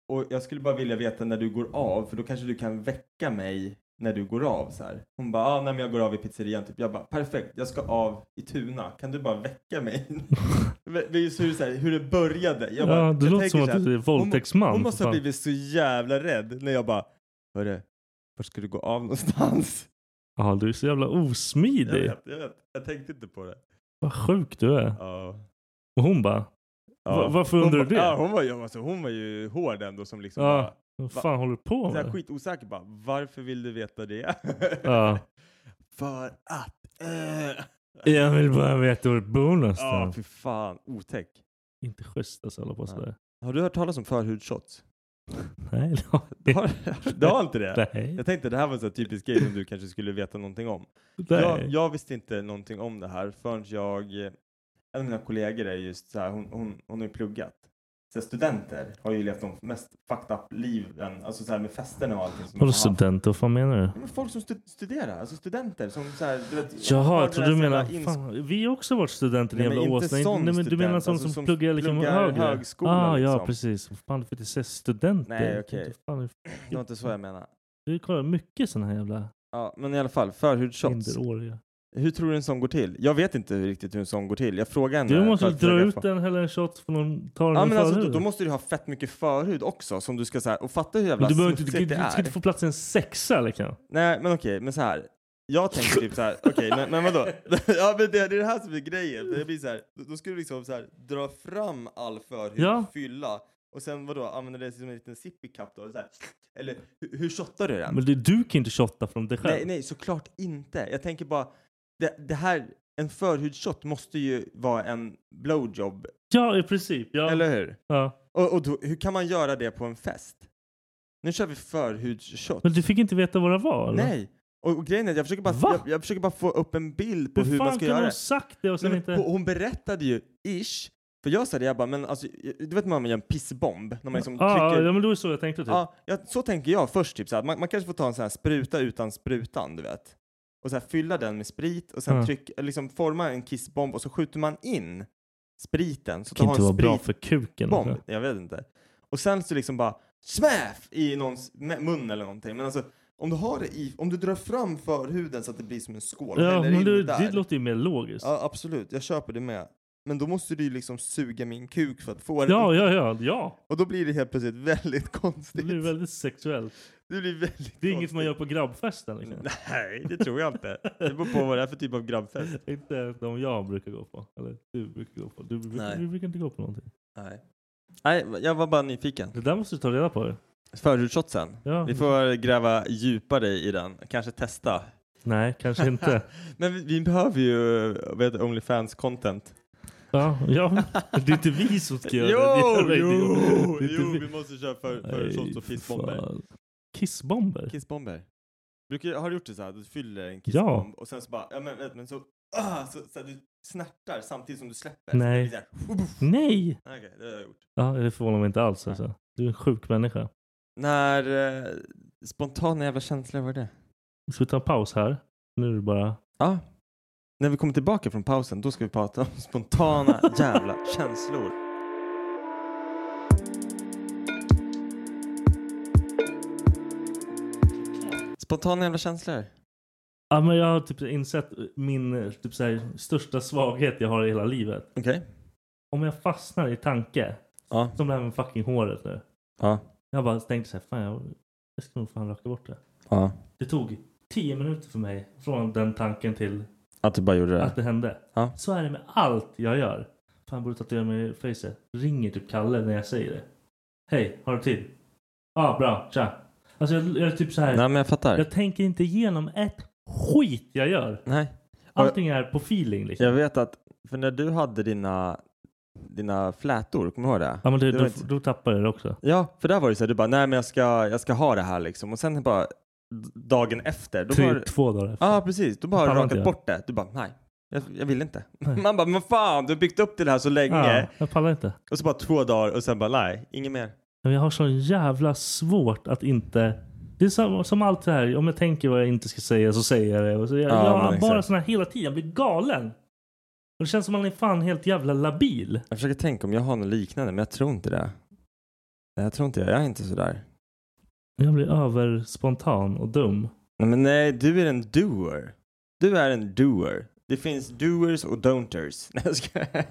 S6: Och jag skulle bara vilja veta när du går av, för då kanske du kan väcka mig när du går av så här. Hon bara, ah nej men jag går av i pizzerian typ. Jag bara, perfekt, jag ska av i Tuna. Kan du bara väcka mig? Men det är ju så hur, så här, hur det började. Jag bara,
S4: ja, det
S6: jag
S4: låter
S6: tänker
S4: som
S6: så
S4: att
S6: här,
S4: du är våldtäktsman.
S6: hon
S4: för
S6: måste ha
S4: fan.
S6: blivit så jävla rädd när jag bara, hörru, var ska du gå av någonstans?
S4: Ja, du är så jävla
S6: Jag
S4: osmidig.
S6: vet, jag vet. Jag tänkte inte på det.
S4: Vad sjuk du är.
S6: Ja.
S4: Och hon bara, Va- varför undrar
S6: hon,
S4: du
S6: ba-
S4: det?
S6: Ja, hon, var, ju- alltså, hon var ju hård ändå som liksom
S4: Ja,
S6: bara,
S4: vad
S6: Va-
S4: fan håller du på
S6: så här,
S4: med?
S6: skitosäker bara, varför vill du veta det?
S4: Ja.
S6: För att... eh.
S4: Jag vill bara veta var du bor
S6: Ja,
S4: någonstans.
S6: fy fan, otäck.
S4: Inte schysst alltså, hålla på sådär.
S6: Har du hört talas om förhudshots?
S4: Nej,
S6: Du
S4: det
S6: har, du har inte det?
S4: Nej,
S6: Jag tänkte det här var en sån här typisk grej som du kanske skulle veta någonting om. Jag,
S4: nej.
S6: jag visste inte någonting om det här förrän jag, en av mina kollegor är just så här, hon, hon, hon har ju pluggat. så här, studenter har ju levt de mest fucked up liven, alltså så här med festerna och allting. som man
S4: Vadå
S6: har haft.
S4: student? Vad fan menar du?
S6: Ja, Men folk som stu- studerar, alltså studenter som så här, du vet, har
S4: Jaha,
S6: den
S4: jag trodde
S6: här
S4: du
S6: jävla
S4: menar...
S6: ins-
S4: Fan, vi har också varit studenter i
S6: Nej, men
S4: jävla
S6: inte
S4: Åsna.
S6: sån
S4: Nej, men du menar
S6: student,
S4: som,
S6: alltså
S4: som
S6: som
S4: pluggar liksom
S6: pluggar
S4: högre?
S6: högskolan,
S4: ah, Ja,
S6: liksom.
S4: precis. Vad Fan, för det är studenter.
S6: Nej, okej.
S4: Fan,
S6: Det var inte så jag menar.
S4: Du kollar mycket såna här jävla
S6: Ja, men i alla fall, förhudshots.
S4: minderåriga.
S6: Hur tror du en sån går till? Jag vet inte hur- riktigt hur en sån går till. Jag frågade henne.
S4: Du måste
S6: för
S4: väl
S6: att
S4: dra
S6: lägga
S4: ut
S6: på-
S4: den, hälla en shot från någon, ta den
S6: Ja
S4: i
S6: men alltså då,
S4: förhuden.
S6: då måste du ha fett mycket förhud också som du ska så här, och fatta hur jävla
S4: Men du, behöver inte, du,
S6: smutsigt
S4: du, du ska
S6: det
S4: inte
S6: är.
S4: få plats i en sexa liksom.
S6: Nej men okej, men så här. Jag tänker typ så här, okej men, men vadå? ja men det, det är det här som är grejen. Det blir så här, då, då ska du liksom så här, dra fram all förhud,
S4: Ja.
S6: fylla och sen vadå, använda det som en liten sippy cup då? Så här. Eller hur, hur shottar du den?
S4: Men du, du kan inte shotta från dig själv.
S6: Nej, nej, såklart inte. Jag tänker bara, det, det här, en förhudshot måste ju vara en blowjob,
S4: Ja, i princip. Ja.
S6: eller hur?
S4: ja.
S6: Och, och då, hur kan man göra det på en fest? Nu kör vi förhudshot.
S4: Men du fick inte veta vad det var? eller?
S6: Nej, och, och grejen är att jag försöker, bara,
S4: Va?
S6: jag, jag försöker bara få upp en bild på
S4: Hur
S6: hur
S4: fan
S6: man ska
S4: kan
S6: göra
S4: hon
S6: det.
S4: sagt det och sen
S6: Nej,
S4: inte...
S6: men, och hon berättade ju, ish, för jag sa det, jag bara, men alltså, du vet när man gör en pissbomb, när man liksom
S4: ah,
S6: trycker
S4: ja, men då är det så jag tänkte typ.
S6: Ja, ja, så tänker jag först. Typ, så här, man, man kanske får ta en sån här spruta utan sprutan, du vet. Och så här, fylla den med sprit och sen
S4: Ja.
S6: tryck, liksom forma en kissbomb och så skjuter man in spriten. Så
S4: det kan
S6: att
S4: inte
S6: du har
S4: vara
S6: en
S4: bra för kuken. alltså.
S6: spritbomb. Jag vet inte. Och sen så liksom bara smäff i någons mä- mun eller någonting. Men alltså om du har det i, om du drar fram förhuden så att det blir som en skål.
S4: Ja,
S6: häller
S4: men
S6: in
S4: det,
S6: där.
S4: det låter ju mer logiskt.
S6: Ja, absolut. Jag köper det med. Men då måste du ju liksom suga min kuk för att få det.
S4: Ja, ja, ja. ja.
S6: Och då blir det helt plötsligt väldigt
S4: Det
S6: konstigt.
S4: blir väldigt sexuellt.
S6: Det blir väldigt
S4: Det är inget
S6: konstigt.
S4: man gör på grabbfesten. Liksom.
S6: Nej, det tror jag inte. Det beror på vad det är för typ av grabbfest.
S4: inte de jag brukar gå på. Eller du brukar gå på. Du, brukar-
S6: Nej.
S4: du brukar inte gå på någonting.
S6: Nej. Nej, jag var bara nyfiken.
S4: Det där måste du ta reda på. ju.
S6: Förhudshotsen.
S4: Ja.
S6: Vi får gräva djupare i den. Kanske testa.
S4: Nej, kanske inte.
S6: Men vi, vi behöver ju vet, Onlyfans-content.
S4: Ja, ja. Det är inte vi som ska göra det. Det är inte-
S6: jo,
S4: det är inte
S6: jo,
S4: vi.
S6: vi måste köra för,
S4: Nej,
S6: förhudshots och
S4: för
S6: pissbomber.
S4: fan. Kissbomber?
S6: Kissbomber. Brukar, har du gjort det så här? Du fyller en kissbomb och sen så bara, ja men, vet, men så, ah, så, så här, du snärtar samtidigt som du släpper.
S4: Nej.
S6: Så det blir så här,
S4: Nej!
S6: Okej, det har jag gjort.
S4: Ja, det förvånar mig inte alls. Alltså. Du är en sjuk människa.
S6: När eh, spontana jävla känslor var det?
S4: Ska vi ta en paus här? Nu är det bara...
S6: Ja. När vi kommer tillbaka från pausen, då ska vi prata om spontana jävla känslor. Spontana jävla känslor.
S4: Ja, men jag har typ insett min eh, typ så här, största svaghet jag har i hela livet.
S6: Okej.
S4: Om jag fastnar i tanke,
S6: Ja.
S4: som det här med fucking håret nu.
S6: Ja.
S4: Jag bara tänkte så här, fan jag, jag ska nog fan raka bort det.
S6: Ja.
S4: Det tog 10 minuter för mig från den tanken till
S6: Att du bara gjorde
S4: att det hände.
S6: Ja.
S4: Så är det med allt jag gör. Fan jag borde tatuera mig i facet. Ringer typ Kalle när jag säger det. Hej, har du tid? Ja, ah, bra, tja. Alltså jag, jag är typ så här.
S6: men jag fattar.
S4: Jag tänker inte igenom ett skit jag gör.
S6: Nej.
S4: Allting är på feeling liksom.
S6: Jag vet att, för när du hade dina, dina flätor, kommer du ihåg det?
S4: Ja men du,
S6: Det
S4: då,
S6: var inte-
S4: då tappar jag det också.
S6: Ja, för där var det så här, du bara nej men jag ska, jag ska ha det här liksom och sen bara d- dagen efter. Då
S4: Tre,
S6: bara,
S4: Två dagar efter.
S6: Ja, precis. Du bara har
S4: Pallar
S6: rakat
S4: inte jag.
S6: bort det. Du bara nej, jag, jag vill inte.
S4: Nej.
S6: Man bara men fan, du har byggt upp till det här så länge
S4: Ja, jag pallar inte.
S6: och så bara två dagar och sen bara nej, inget mer.
S4: Men Jag har så jävla svårt att inte... Det är som, som allt det här. Om jag tänker vad jag inte ska säga så säger jag det. Och så jag,
S6: Ja,
S4: jag
S6: men
S4: har bara
S6: exakt.
S4: sån här hela tiden. Jag blir galen. Och det känns som man är fan helt jävla labil.
S6: Jag försöker tänka om jag har något liknande, men jag tror inte det. Nej, Jag tror inte det. Jag är inte sådär.
S4: Jag blir överspontan och dum.
S6: Nej, men nej, du är en doer. Du är en doer. Det finns doers och don'ters. Nej, jag skojar.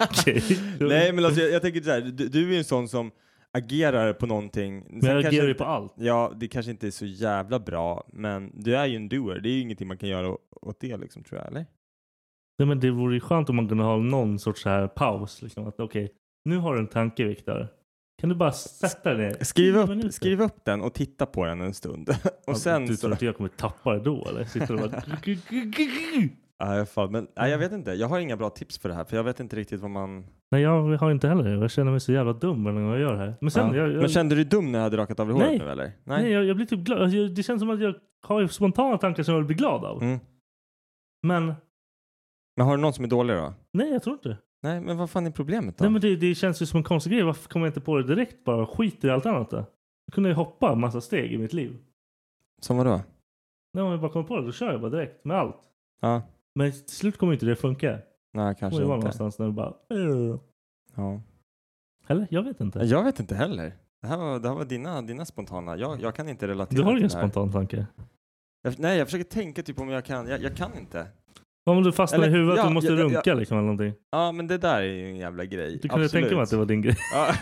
S4: Okej.
S6: Nej, men alltså, jag, jag tänker så här. Du, du är ju en sån som agerar på någonting.
S4: Men
S6: Sen
S4: jag
S6: kanske
S4: reagerar ju
S6: inte-
S4: på allt.
S6: Ja, det kanske inte är så jävla bra, men du är ju en doer. Det är ju ingenting man kan göra å- åt det liksom, tror jag, eller?
S4: Nej, men det vore ju skönt om man kunde ha någon sorts så här paus. Liksom, att okej, nu har du en tanke Viktor. Kan du bara sätta dig ner?
S6: Skriv
S4: Tio
S6: upp,
S4: minuter.
S6: skriv upp den och titta på den en stund.
S4: Ja,
S6: och sen
S4: du
S6: så...
S4: tror inte jag kommer tappa det då eller? Sitter och bara...
S6: Ja, jag, fan, men,
S4: Mm.
S6: nej, jag vet inte. Jag har inga bra tips för det här, för jag vet inte riktigt vad man...
S4: Nej jag har inte heller det. Jag känner mig så jävla dum varje gång jag gör det här. Men sen,
S6: Ja.
S4: jag, jag,
S6: Men kände du dig dum när jag hade rakat av dig
S4: Nej.
S6: håret nu, eller?
S4: nej. jag, jag blir typ glad. Alltså, jag- Det känns som att jag har ju spontana tankar som jag blir glad av.
S6: Mm.
S4: Men
S6: Men har du någon som är dålig då?
S4: nej jag tror inte det.
S6: Nej, men vad fan är problemet då?
S4: Nej men det, det känns ju som en konstig grej. Varför kommer jag inte på det direkt bara? Skiter i allt annat då? Jag kunde ju hoppa en massa steg i mitt liv.
S6: Som vadå?
S4: Nej, om jag bara kommer på det då kör jag bara direkt med allt.
S6: Ja,
S4: Men till slut kommer ju inte det funka.
S6: nej
S4: Det
S6: kanske
S4: vara
S6: inte.
S4: någonstans när du bara... "Eh."
S6: Ja.
S4: Eller? Jag vet inte.
S6: Jag vet inte heller. Det här var, det här var dina, dina spontana. Jag, jag kan inte relatera
S4: Du har
S6: till
S4: ingen
S6: det här.
S4: spontan tanke.
S6: Jag, nej, jag försöker tänka typ om jag kan. Jag, jag kan inte.
S4: Om du fastnar i
S6: Eller-
S4: huvudet
S6: ja,
S4: du måste
S6: ja, ja,
S4: runka liksom eller någonting.
S6: Ja, men det där är ju en jävla grej.
S4: Du kunde tänka mig att det var din grej.
S6: Ja.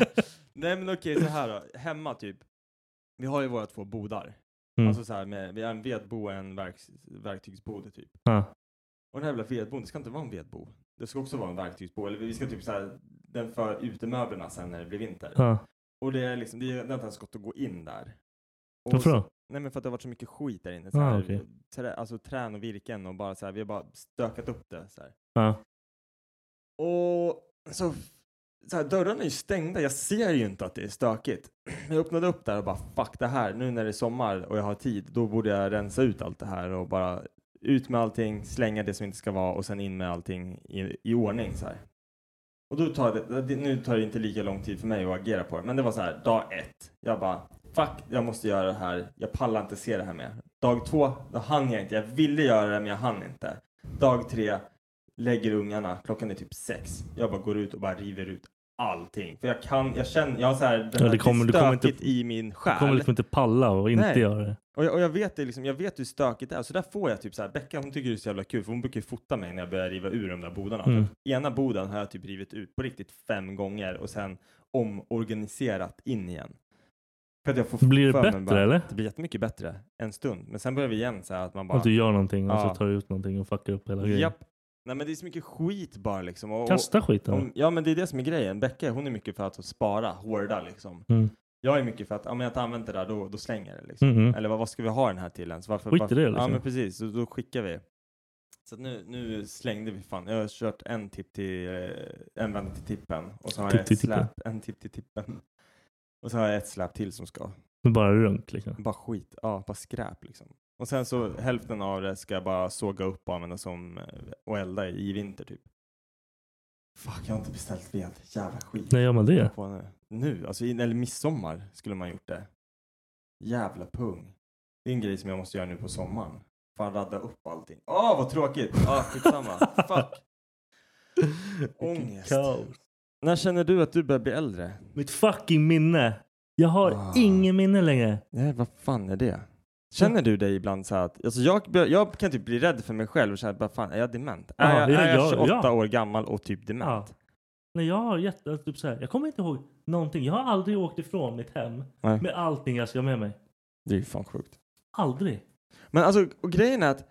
S6: Nej men okej, så här då. Hemma typ. Vi har ju våra två bodar.
S4: Mm.
S6: Alltså så här med, vi har en vedbo och en verks, verktygsbode typ.
S4: Ja.
S6: Och den här jävla vedbon, det ska inte vara en vedbo. Det ska också vara en verktygsbo. Eller vi ska typ så här, den för utemöblerna sen när det blir vinter.
S4: Ja.
S6: Och det är liksom, det är det har inte ens gått att gå in där. Och
S4: Varför då?
S6: Nej men för att det har varit så mycket skit där inne. Så
S4: Ah,
S6: här,
S4: okej.
S6: trä, alltså trän och virken och bara så här, vi har bara stökat upp det så här.
S4: Ja.
S6: Och så, så här, dörrarna är ju stängda, jag ser ju inte att det är stökigt. Jag öppnade upp där och bara fuck det här, nu när det är sommar och jag har tid, då borde jag rensa ut allt det här och bara ut med allting, slänga det som inte ska vara och sen in med allting i, i ordning så här. Och då tar det, det, nu tar det inte lika lång tid för mig att agera på det, men det var så här, dag ett, jag bara fuck, jag måste göra det här, jag pallar inte se det här mer. Dag två, då hann jag inte, jag ville göra det men jag hann inte. Dag tre, lägger ungarna, klockan är typ sex. Jag bara går ut och bara river ut allting. För jag kan, jag känner, jag har så här, den
S4: Ja,
S6: här
S4: det kommer-
S6: det
S4: du
S6: är
S4: kommer inte-
S6: stökigt i min
S4: Du kommer
S6: själ.
S4: liksom inte palla och inte
S6: Nej.
S4: göra det.
S6: Och, jag, och jag vet det liksom, jag vet hur stökigt det är. Så där får jag typ så här, Becka hon tycker det är så jävla kul för hon brukar ju fota mig när jag börjar riva ur de där bodarna.
S4: Mm.
S6: Ena boden har jag typ rivit ut på riktigt fem gånger och sen omorganiserat in igen. För att jag får
S4: Blir det
S6: för mig
S4: bättre,
S6: bara,
S4: eller?
S6: Det blir jättemycket bättre en stund. Men sen börjar vi igen så här att man bara...
S4: Att du Alltså, gör någonting och
S6: Ja.
S4: så tar du ut någonting och fuckar upp hela grejen.
S6: Japp. Nej men det är så mycket skit bara liksom. Och, och,
S4: Kasta skiten.
S6: Om, ja, men det är det som är grejen. Becka, hon är mycket för att spara, hårda liksom.
S4: Mm.
S6: Jag är mycket för att, ja men jag har inte använt det där, då, då slänger jag det liksom.
S4: Mm -mm.
S6: Eller vad, vad ska vi ha den här till ens? Varför,
S4: Skit i
S6: varför?
S4: det, liksom.
S6: Ja, men precis. Så då skickar vi. Så att nu, nu slängde vi fan. Jag har kört en tipp till, eh, en vända till tippen. Och så har
S4: Tipp
S6: jag
S4: till
S6: ett
S4: tippen.
S6: släp, en tipp till tippen. Och så har jag ett släp till som ska.
S4: Bara runt liksom.
S6: Bara skit, ja, bara skräp liksom. Och sen så hälften av det ska jag bara såga upp och använda som eh, och elda i i vinter typ. Fuck, jag har inte beställt ved. Jävla skit.
S4: När gör man det?
S6: På nu. nu, alltså in, eller midsommar skulle man gjort det. Jävla pung. Det är en grej som jag måste göra nu på sommaren. Fan radda upp allting. Åh, vad tråkigt! Ja, skitsamma. Fuck. Ångest.
S4: Kaos.
S6: När känner du att du börjar bli äldre?
S4: Mitt fucking minne. Jag har
S6: Ah.
S4: ingen minne längre.
S6: Nej, vad fan är det? Känner du dig ibland så här att, alltså jag, bör- jag kan typ bli rädd för mig själv och känna, vad fan är jag dement?
S4: Ja,
S6: Är, jag,
S4: ja,
S6: är jag
S4: ja,
S6: 28
S4: ja.
S6: år gammal och typ
S4: Ja.
S6: dement?
S4: Nej, jag har jätte, typ så här, jag kommer inte ihåg någonting. Jag har aldrig åkt ifrån mitt hem
S6: Nej.
S4: med allting jag ska ha med mig.
S6: Det är ju fan sjukt.
S4: Aldrig.
S6: Men alltså, och grejen är att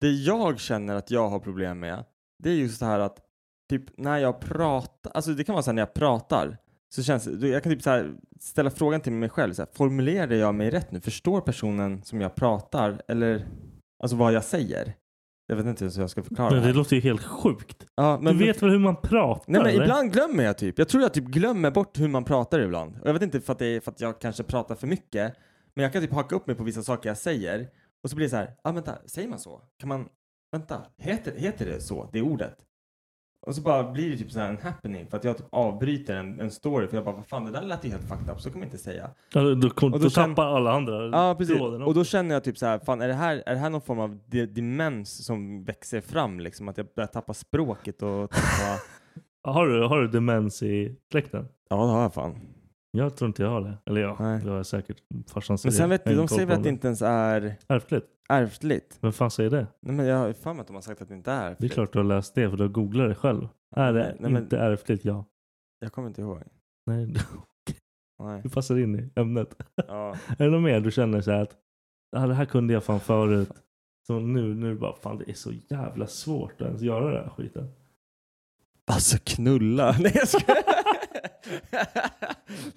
S6: det jag känner att jag har problem med, det är just det här att typ när jag pratar, alltså det kan vara så här när jag pratar, så känns det, jag kan typ så här ställa frågan till mig själv, så här, formulerar jag mig rätt nu? Förstår personen som jag pratar eller alltså vad jag säger? Jag vet inte ens hur jag ska förklara
S4: Men det
S6: här.
S4: låter ju helt sjukt.
S6: Ja, men
S4: du vet väl hur man pratar?
S6: Nej men
S4: eller?
S6: ibland glömmer jag typ. Jag tror jag typ glömmer bort hur man pratar ibland. Och jag vet inte för att det är för att jag kanske pratar för mycket. Men jag kan typ haka upp mig på vissa saker jag säger. Och så blir det så här, ah, vänta, säger man så? Kan man, vänta, heter, heter det så, det ordet? Och så bara blir det typ så här en happening för att jag typ avbryter en, en story för jag bara, vad fan det där lät ju helt fucked up, så kan man inte säga.
S4: Ja, Alltså, då, då, kom-
S6: Och då
S4: då
S6: känn-
S4: tappar alla andra
S6: Ja, precis.
S4: tråden
S6: Och då
S4: också.
S6: känner jag typ så här, fan är det här, är det här någon form av de- demens som växer fram liksom? Att jag börjar tappa språket och tappa...
S4: har, du, har du demens i släkten?
S6: ja, det har jag fan.
S4: Jag tror inte jag har det. Eller ja,
S6: Nej.
S4: det har jag säkert. Farsan säger
S6: Men sen
S4: det.
S6: vet
S4: Jag har
S6: du, de
S4: ingen koll
S6: säger
S4: på
S6: väl att det
S4: det.
S6: inte ens är
S4: Ärftligt?
S6: ärftligt?
S4: Vem fan säger det?
S6: Nej men jag har ju för mig att de har sagt att det inte är
S4: Det är
S6: ärftligt.
S4: klart du har läst det för du har googlat det själv. Är det
S6: Nej, nej, men-
S4: inte ärftligt? Ja.
S6: Jag kommer inte ihåg.
S4: Nej,
S6: Nej.
S4: du passar in i ämnet.
S6: Ja.
S4: Är det något mer du känner så här att ah, det här kunde jag fan förut. Så nu, nu bara fan det är så jävla svårt att ens göra den här skiten.
S6: Alltså knulla. Nej jag skojar.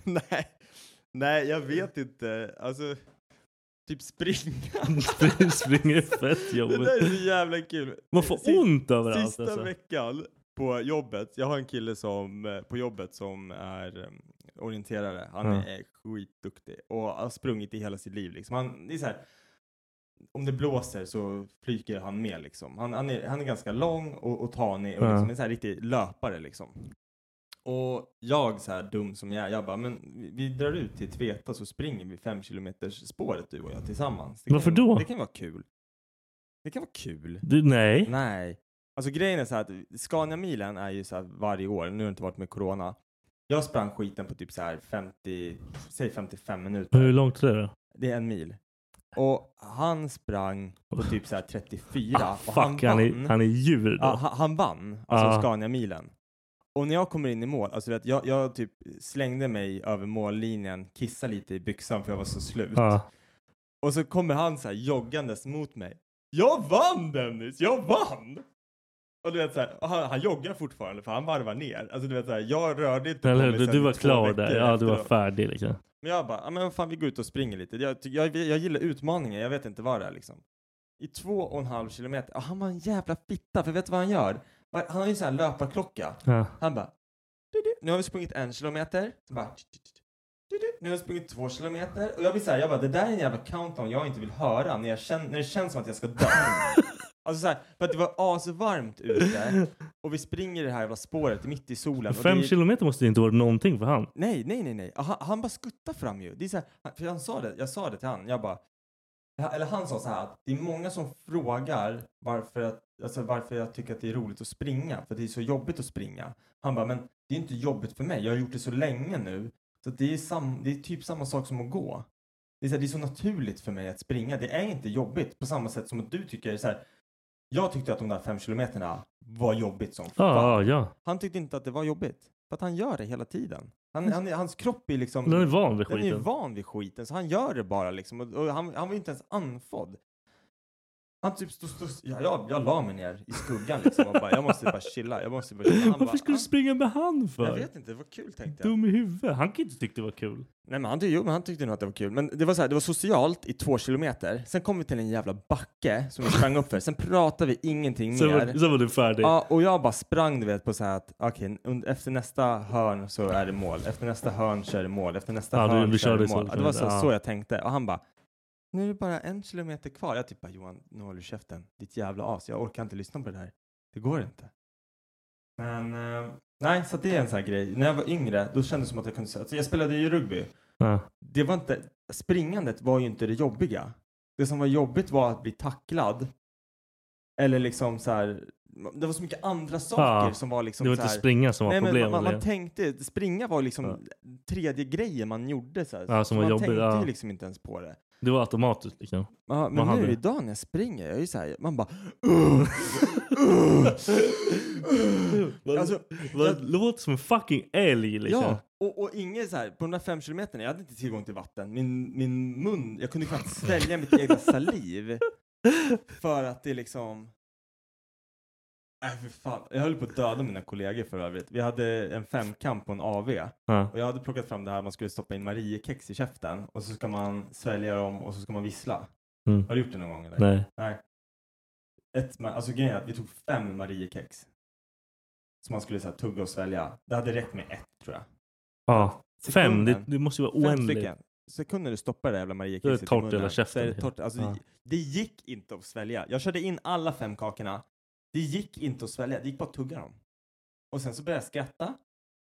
S6: Nej. Nej jag vet inte. Alltså. Typ springa.
S4: Spring- springa är fett jobbigt.
S6: Det där är så jävla kul.
S4: Man får
S6: Sist-
S4: ont överallt
S6: Sista
S4: alltså.
S6: veckan på jobbet. Jag har en kille som, eh, på jobbet som är eh, orienterare. Han
S4: Ja.
S6: är skitduktig och har sprungit i hela sitt liv. Liksom. Han, det är så här, om det blåser så flyger han med liksom. Han, han, är, han är ganska lång och, och tanig och
S4: Ja.
S6: liksom en så här riktig löpare liksom. Och jag så här dum som jag är, jag bara, men vi, vi drar ut till Tveta så springer vi fem kilometers spåret du och jag tillsammans. Det kan
S4: Varför
S6: ju-
S4: då?
S6: Det kan ju vara kul. Det kan vara kul.
S4: Du, nej.
S6: Nej. Alltså grejen är så här att Scania-milen är ju så här varje år, nu har det inte varit med corona. Jag sprang skiten på typ så här 50, säg 55 minuter.
S4: Hur långt är det då?
S6: Det är en mil. Och han sprang på typ så här 34
S4: Ah,
S6: och
S4: fuck,
S6: han
S4: han,
S6: vann.
S4: är, han är djur då.
S6: ja, han, han vann, alltså
S4: Ah.
S6: Scania-milen. Och när jag kommer in i mål, alltså vet, jag, jag typ slängde mig över mållinjen, kissade lite i byxan för jag var så slut.
S4: Ja.
S6: Och så kommer han så här joggandes mot mig. Jag vann Dennis, jag vann! Och du vet så här, och han, han joggar fortfarande för han varvar ner. Alltså du vet så här, jag rörde inte
S4: Eller
S6: på
S4: hur?
S6: mig
S4: Du,
S6: sen
S4: du var
S6: två
S4: klar
S6: veckor
S4: där. Ja, du var
S6: efteråt.
S4: färdig liksom.
S6: Men jag bara, ja men vad fan vi går ut och springer lite. Jag, ty- jag, jag gillar utmaningar, jag vet inte vad det är liksom. I två och en halv kilometer, ja, han var en jävla fitta, för vet du vad han gör? Var- Han har ju sån här löparklocka.
S4: Ja.
S6: Han bara, du, du, nu har vi sprungit en kilometer. Så bara, du, du, du, du, du, nu har vi sprungit två kilometer. Och jag blir såhär, jag bara, det där är en jävla countdown jag inte vill höra när, jag känner, när det känns som att jag ska dö. alltså såhär, för att det var asvarmt ute och vi springer i det här jävla spåret mitt i solen. och
S4: Fem
S6: det är-
S4: kilometer måste ju inte vara någonting för han.
S6: Nej, nej, nej, nej. Han, han bara skuttar fram ju. Det är så här, han- för han sa det, jag sa det till han. Jag bara, Ja, eller han sa så här att det är många som frågar varför, att, alltså varför jag tycker att det är roligt att springa, för det är så jobbigt att springa. Han bara, men det är inte jobbigt för mig, jag har gjort det så länge nu, så att det, är sam, det är typ samma sak som att gå. Det är, så här, det är så naturligt för mig att springa, det är inte jobbigt på samma sätt som att du tycker så här. Jag tyckte att de där fem kilometerna var jobbigt som
S4: Ja,
S6: fan.
S4: ja, ja.
S6: Han tyckte inte att det var jobbigt. För att han gör det hela tiden. Han, han, hans kropp är liksom...
S4: Mm. Den är van vid
S6: den är ju
S4: skiten.
S6: van vid skiten. Så han gör det bara liksom. Och, och han, han var ju inte ens andfådd. Han typ stod... stod jag, jag, jag la mig ner i skuggan liksom. Och bara, jag måste bara chilla. Jag måste bara chilla. Han
S4: Varför
S6: bara,
S4: skulle du springa med han
S6: "Ah, Jag
S4: för?
S6: vet inte, det var kul tänkte jag.
S4: Dum i huvudet. Han kan ju inte tycka det var kul.
S6: Nej men han, tyckte- jo, men han tyckte nog att det var kul. Men det var så här, det var socialt i två kilometer. Sen kom vi till en jävla backe som vi sprang upp för. Sen pratade vi ingenting
S4: Sen
S6: mer.
S4: var, sen var du färdig.
S6: Ja, och jag bara sprang du vet på så här att okej, und- efter nästa hörn så är det mål, efter nästa hörn så är det mål, efter nästa
S4: Ja, du-
S6: hörn
S4: du
S6: så är
S4: körde
S6: det
S4: så,
S6: mål. Ja, det var så,
S4: ja.
S6: så jag tänkte. Och han bara, nu är det bara en kilometer kvar. Jag typ bara, Johan, nu håller du käften, ditt jävla as, jag orkar inte lyssna på det här. Det går inte. Men eh, nej, så det är en sån här grej. När jag var yngre, då kändes det som att jag kunde säga, alltså, jag spelade ju rugby.
S4: Ja.
S6: Det var inte, springandet var ju inte det jobbiga. Det som var jobbigt var att bli tacklad. Eller liksom så här, det var så mycket andra saker
S4: Ja,
S6: som var liksom
S4: Det var
S6: så
S4: inte
S6: här,
S4: springa som var
S6: nej, men
S4: problemet.
S6: man, man, man
S4: eller?
S6: tänkte, springa var liksom tredje grejen man gjorde så här.
S4: Ja, som
S6: Så
S4: var
S6: man
S4: jobbig,
S6: tänkte
S4: ja.
S6: ju liksom inte ens på det.
S4: det var automatiskt liksom.
S6: Ja, men
S4: Vad hade
S6: nu
S4: du?
S6: idag när jag springer, jag är ju så här, man bara "Ugh, ugh, ugh." Alltså, jag-
S4: Det låter som en fucking älg liksom.
S6: Ja, och, och inget så här, på de där fem kilometerna, jag hade inte tillgång till vatten. Min, min mun, jag kunde knappt svälja mitt egna saliv. För att det liksom... Nej, för fan. Jag höll på att döda mina kollegor för övrigt. Vi hade en femkamp på en AV
S4: Ja.
S6: och jag hade plockat fram det här man skulle stoppa in Mariekex i käften och så ska man svälja dem och så ska man vissla.
S4: Mm.
S6: Har du gjort det någon gång eller?
S4: Nej.
S6: Ett, ma- alltså grejen är att vi tog fem Mariekex. Som man skulle så här, tugga och svälja. Det hade räckt med ett tror jag.
S4: Ja. Fem,
S6: Sekunden.
S4: det, det måste ju vara
S6: Fem
S4: oändligt.
S6: stycken. Sekunder du stoppar det jävla
S4: Då är det
S6: Mariekexet
S4: torrt i hela käften.
S6: Så är det, torrt. Alltså,
S4: Ja.
S6: det, det gick inte att svälja. Jag körde in alla fem kakorna. Det gick inte att svälja. Det gick bara att tugga dem. Och sen så började jag skratta.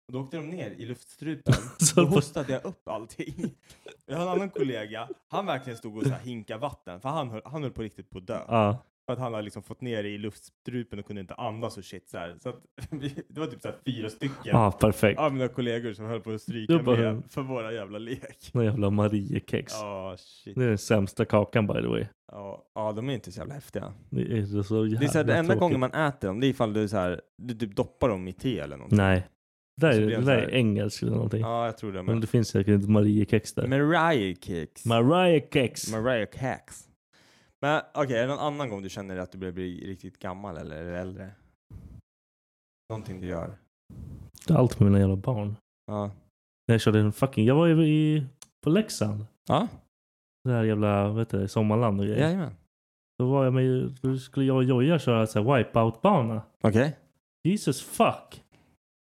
S6: Och då åkte de ner i luftstrupen.
S4: Så
S6: Då
S4: på-
S6: hostade jag upp allting. Jag har en annan kollega. Han verkligen stod och så här hinkade vatten. För han höll, han höll på riktigt på att dö.
S4: Ja.
S6: För att han hade liksom fått ner det i luftstrupen och kunde inte andas och shit så här. Så att, vi- det var typ så här fyra stycken
S4: Ja, perfekt.
S6: av mina kollegor som höll på att stryka
S4: Du bara-
S6: med för våra jävla lek.
S4: Några jävla Mariekex.
S6: Ja, shit.
S4: Det är den sämsta kakan by the way.
S6: Ja, ja, de är inte så jävla häftiga.
S4: Det är så jävla
S6: Det är så här, det enda
S4: tråkigt.
S6: gången man äter dem, det är ifall du, så här, du typ doppar dem i te eller någonting.
S4: Nej. Det där,
S6: Så
S4: är-
S6: blir
S4: det
S6: de
S4: där
S6: så här-
S4: är engelskt eller någonting.
S6: Ja, jag tror det.
S4: Men
S6: Men...
S4: det finns säkert inte Mariekex där.
S6: Mariah Kicks.
S4: Mariekex.
S6: Mariah Kicks. Men okej, är det någon annan gång du känner att du börjar bli riktigt gammal eller är det äldre? Någonting du gör?
S4: Det är Allt med mina jävla barn.
S6: Ja.
S4: När jag körde en fucking... Jag var ju i, på Leksand.
S6: Ja,
S4: Det här jävla, vad heter det, sommarland och grejer.
S6: jajamän.
S4: Då var jag med, då skulle jag och Joja köra så här wipeout-bana.
S6: Okej.
S4: Jesus fuck.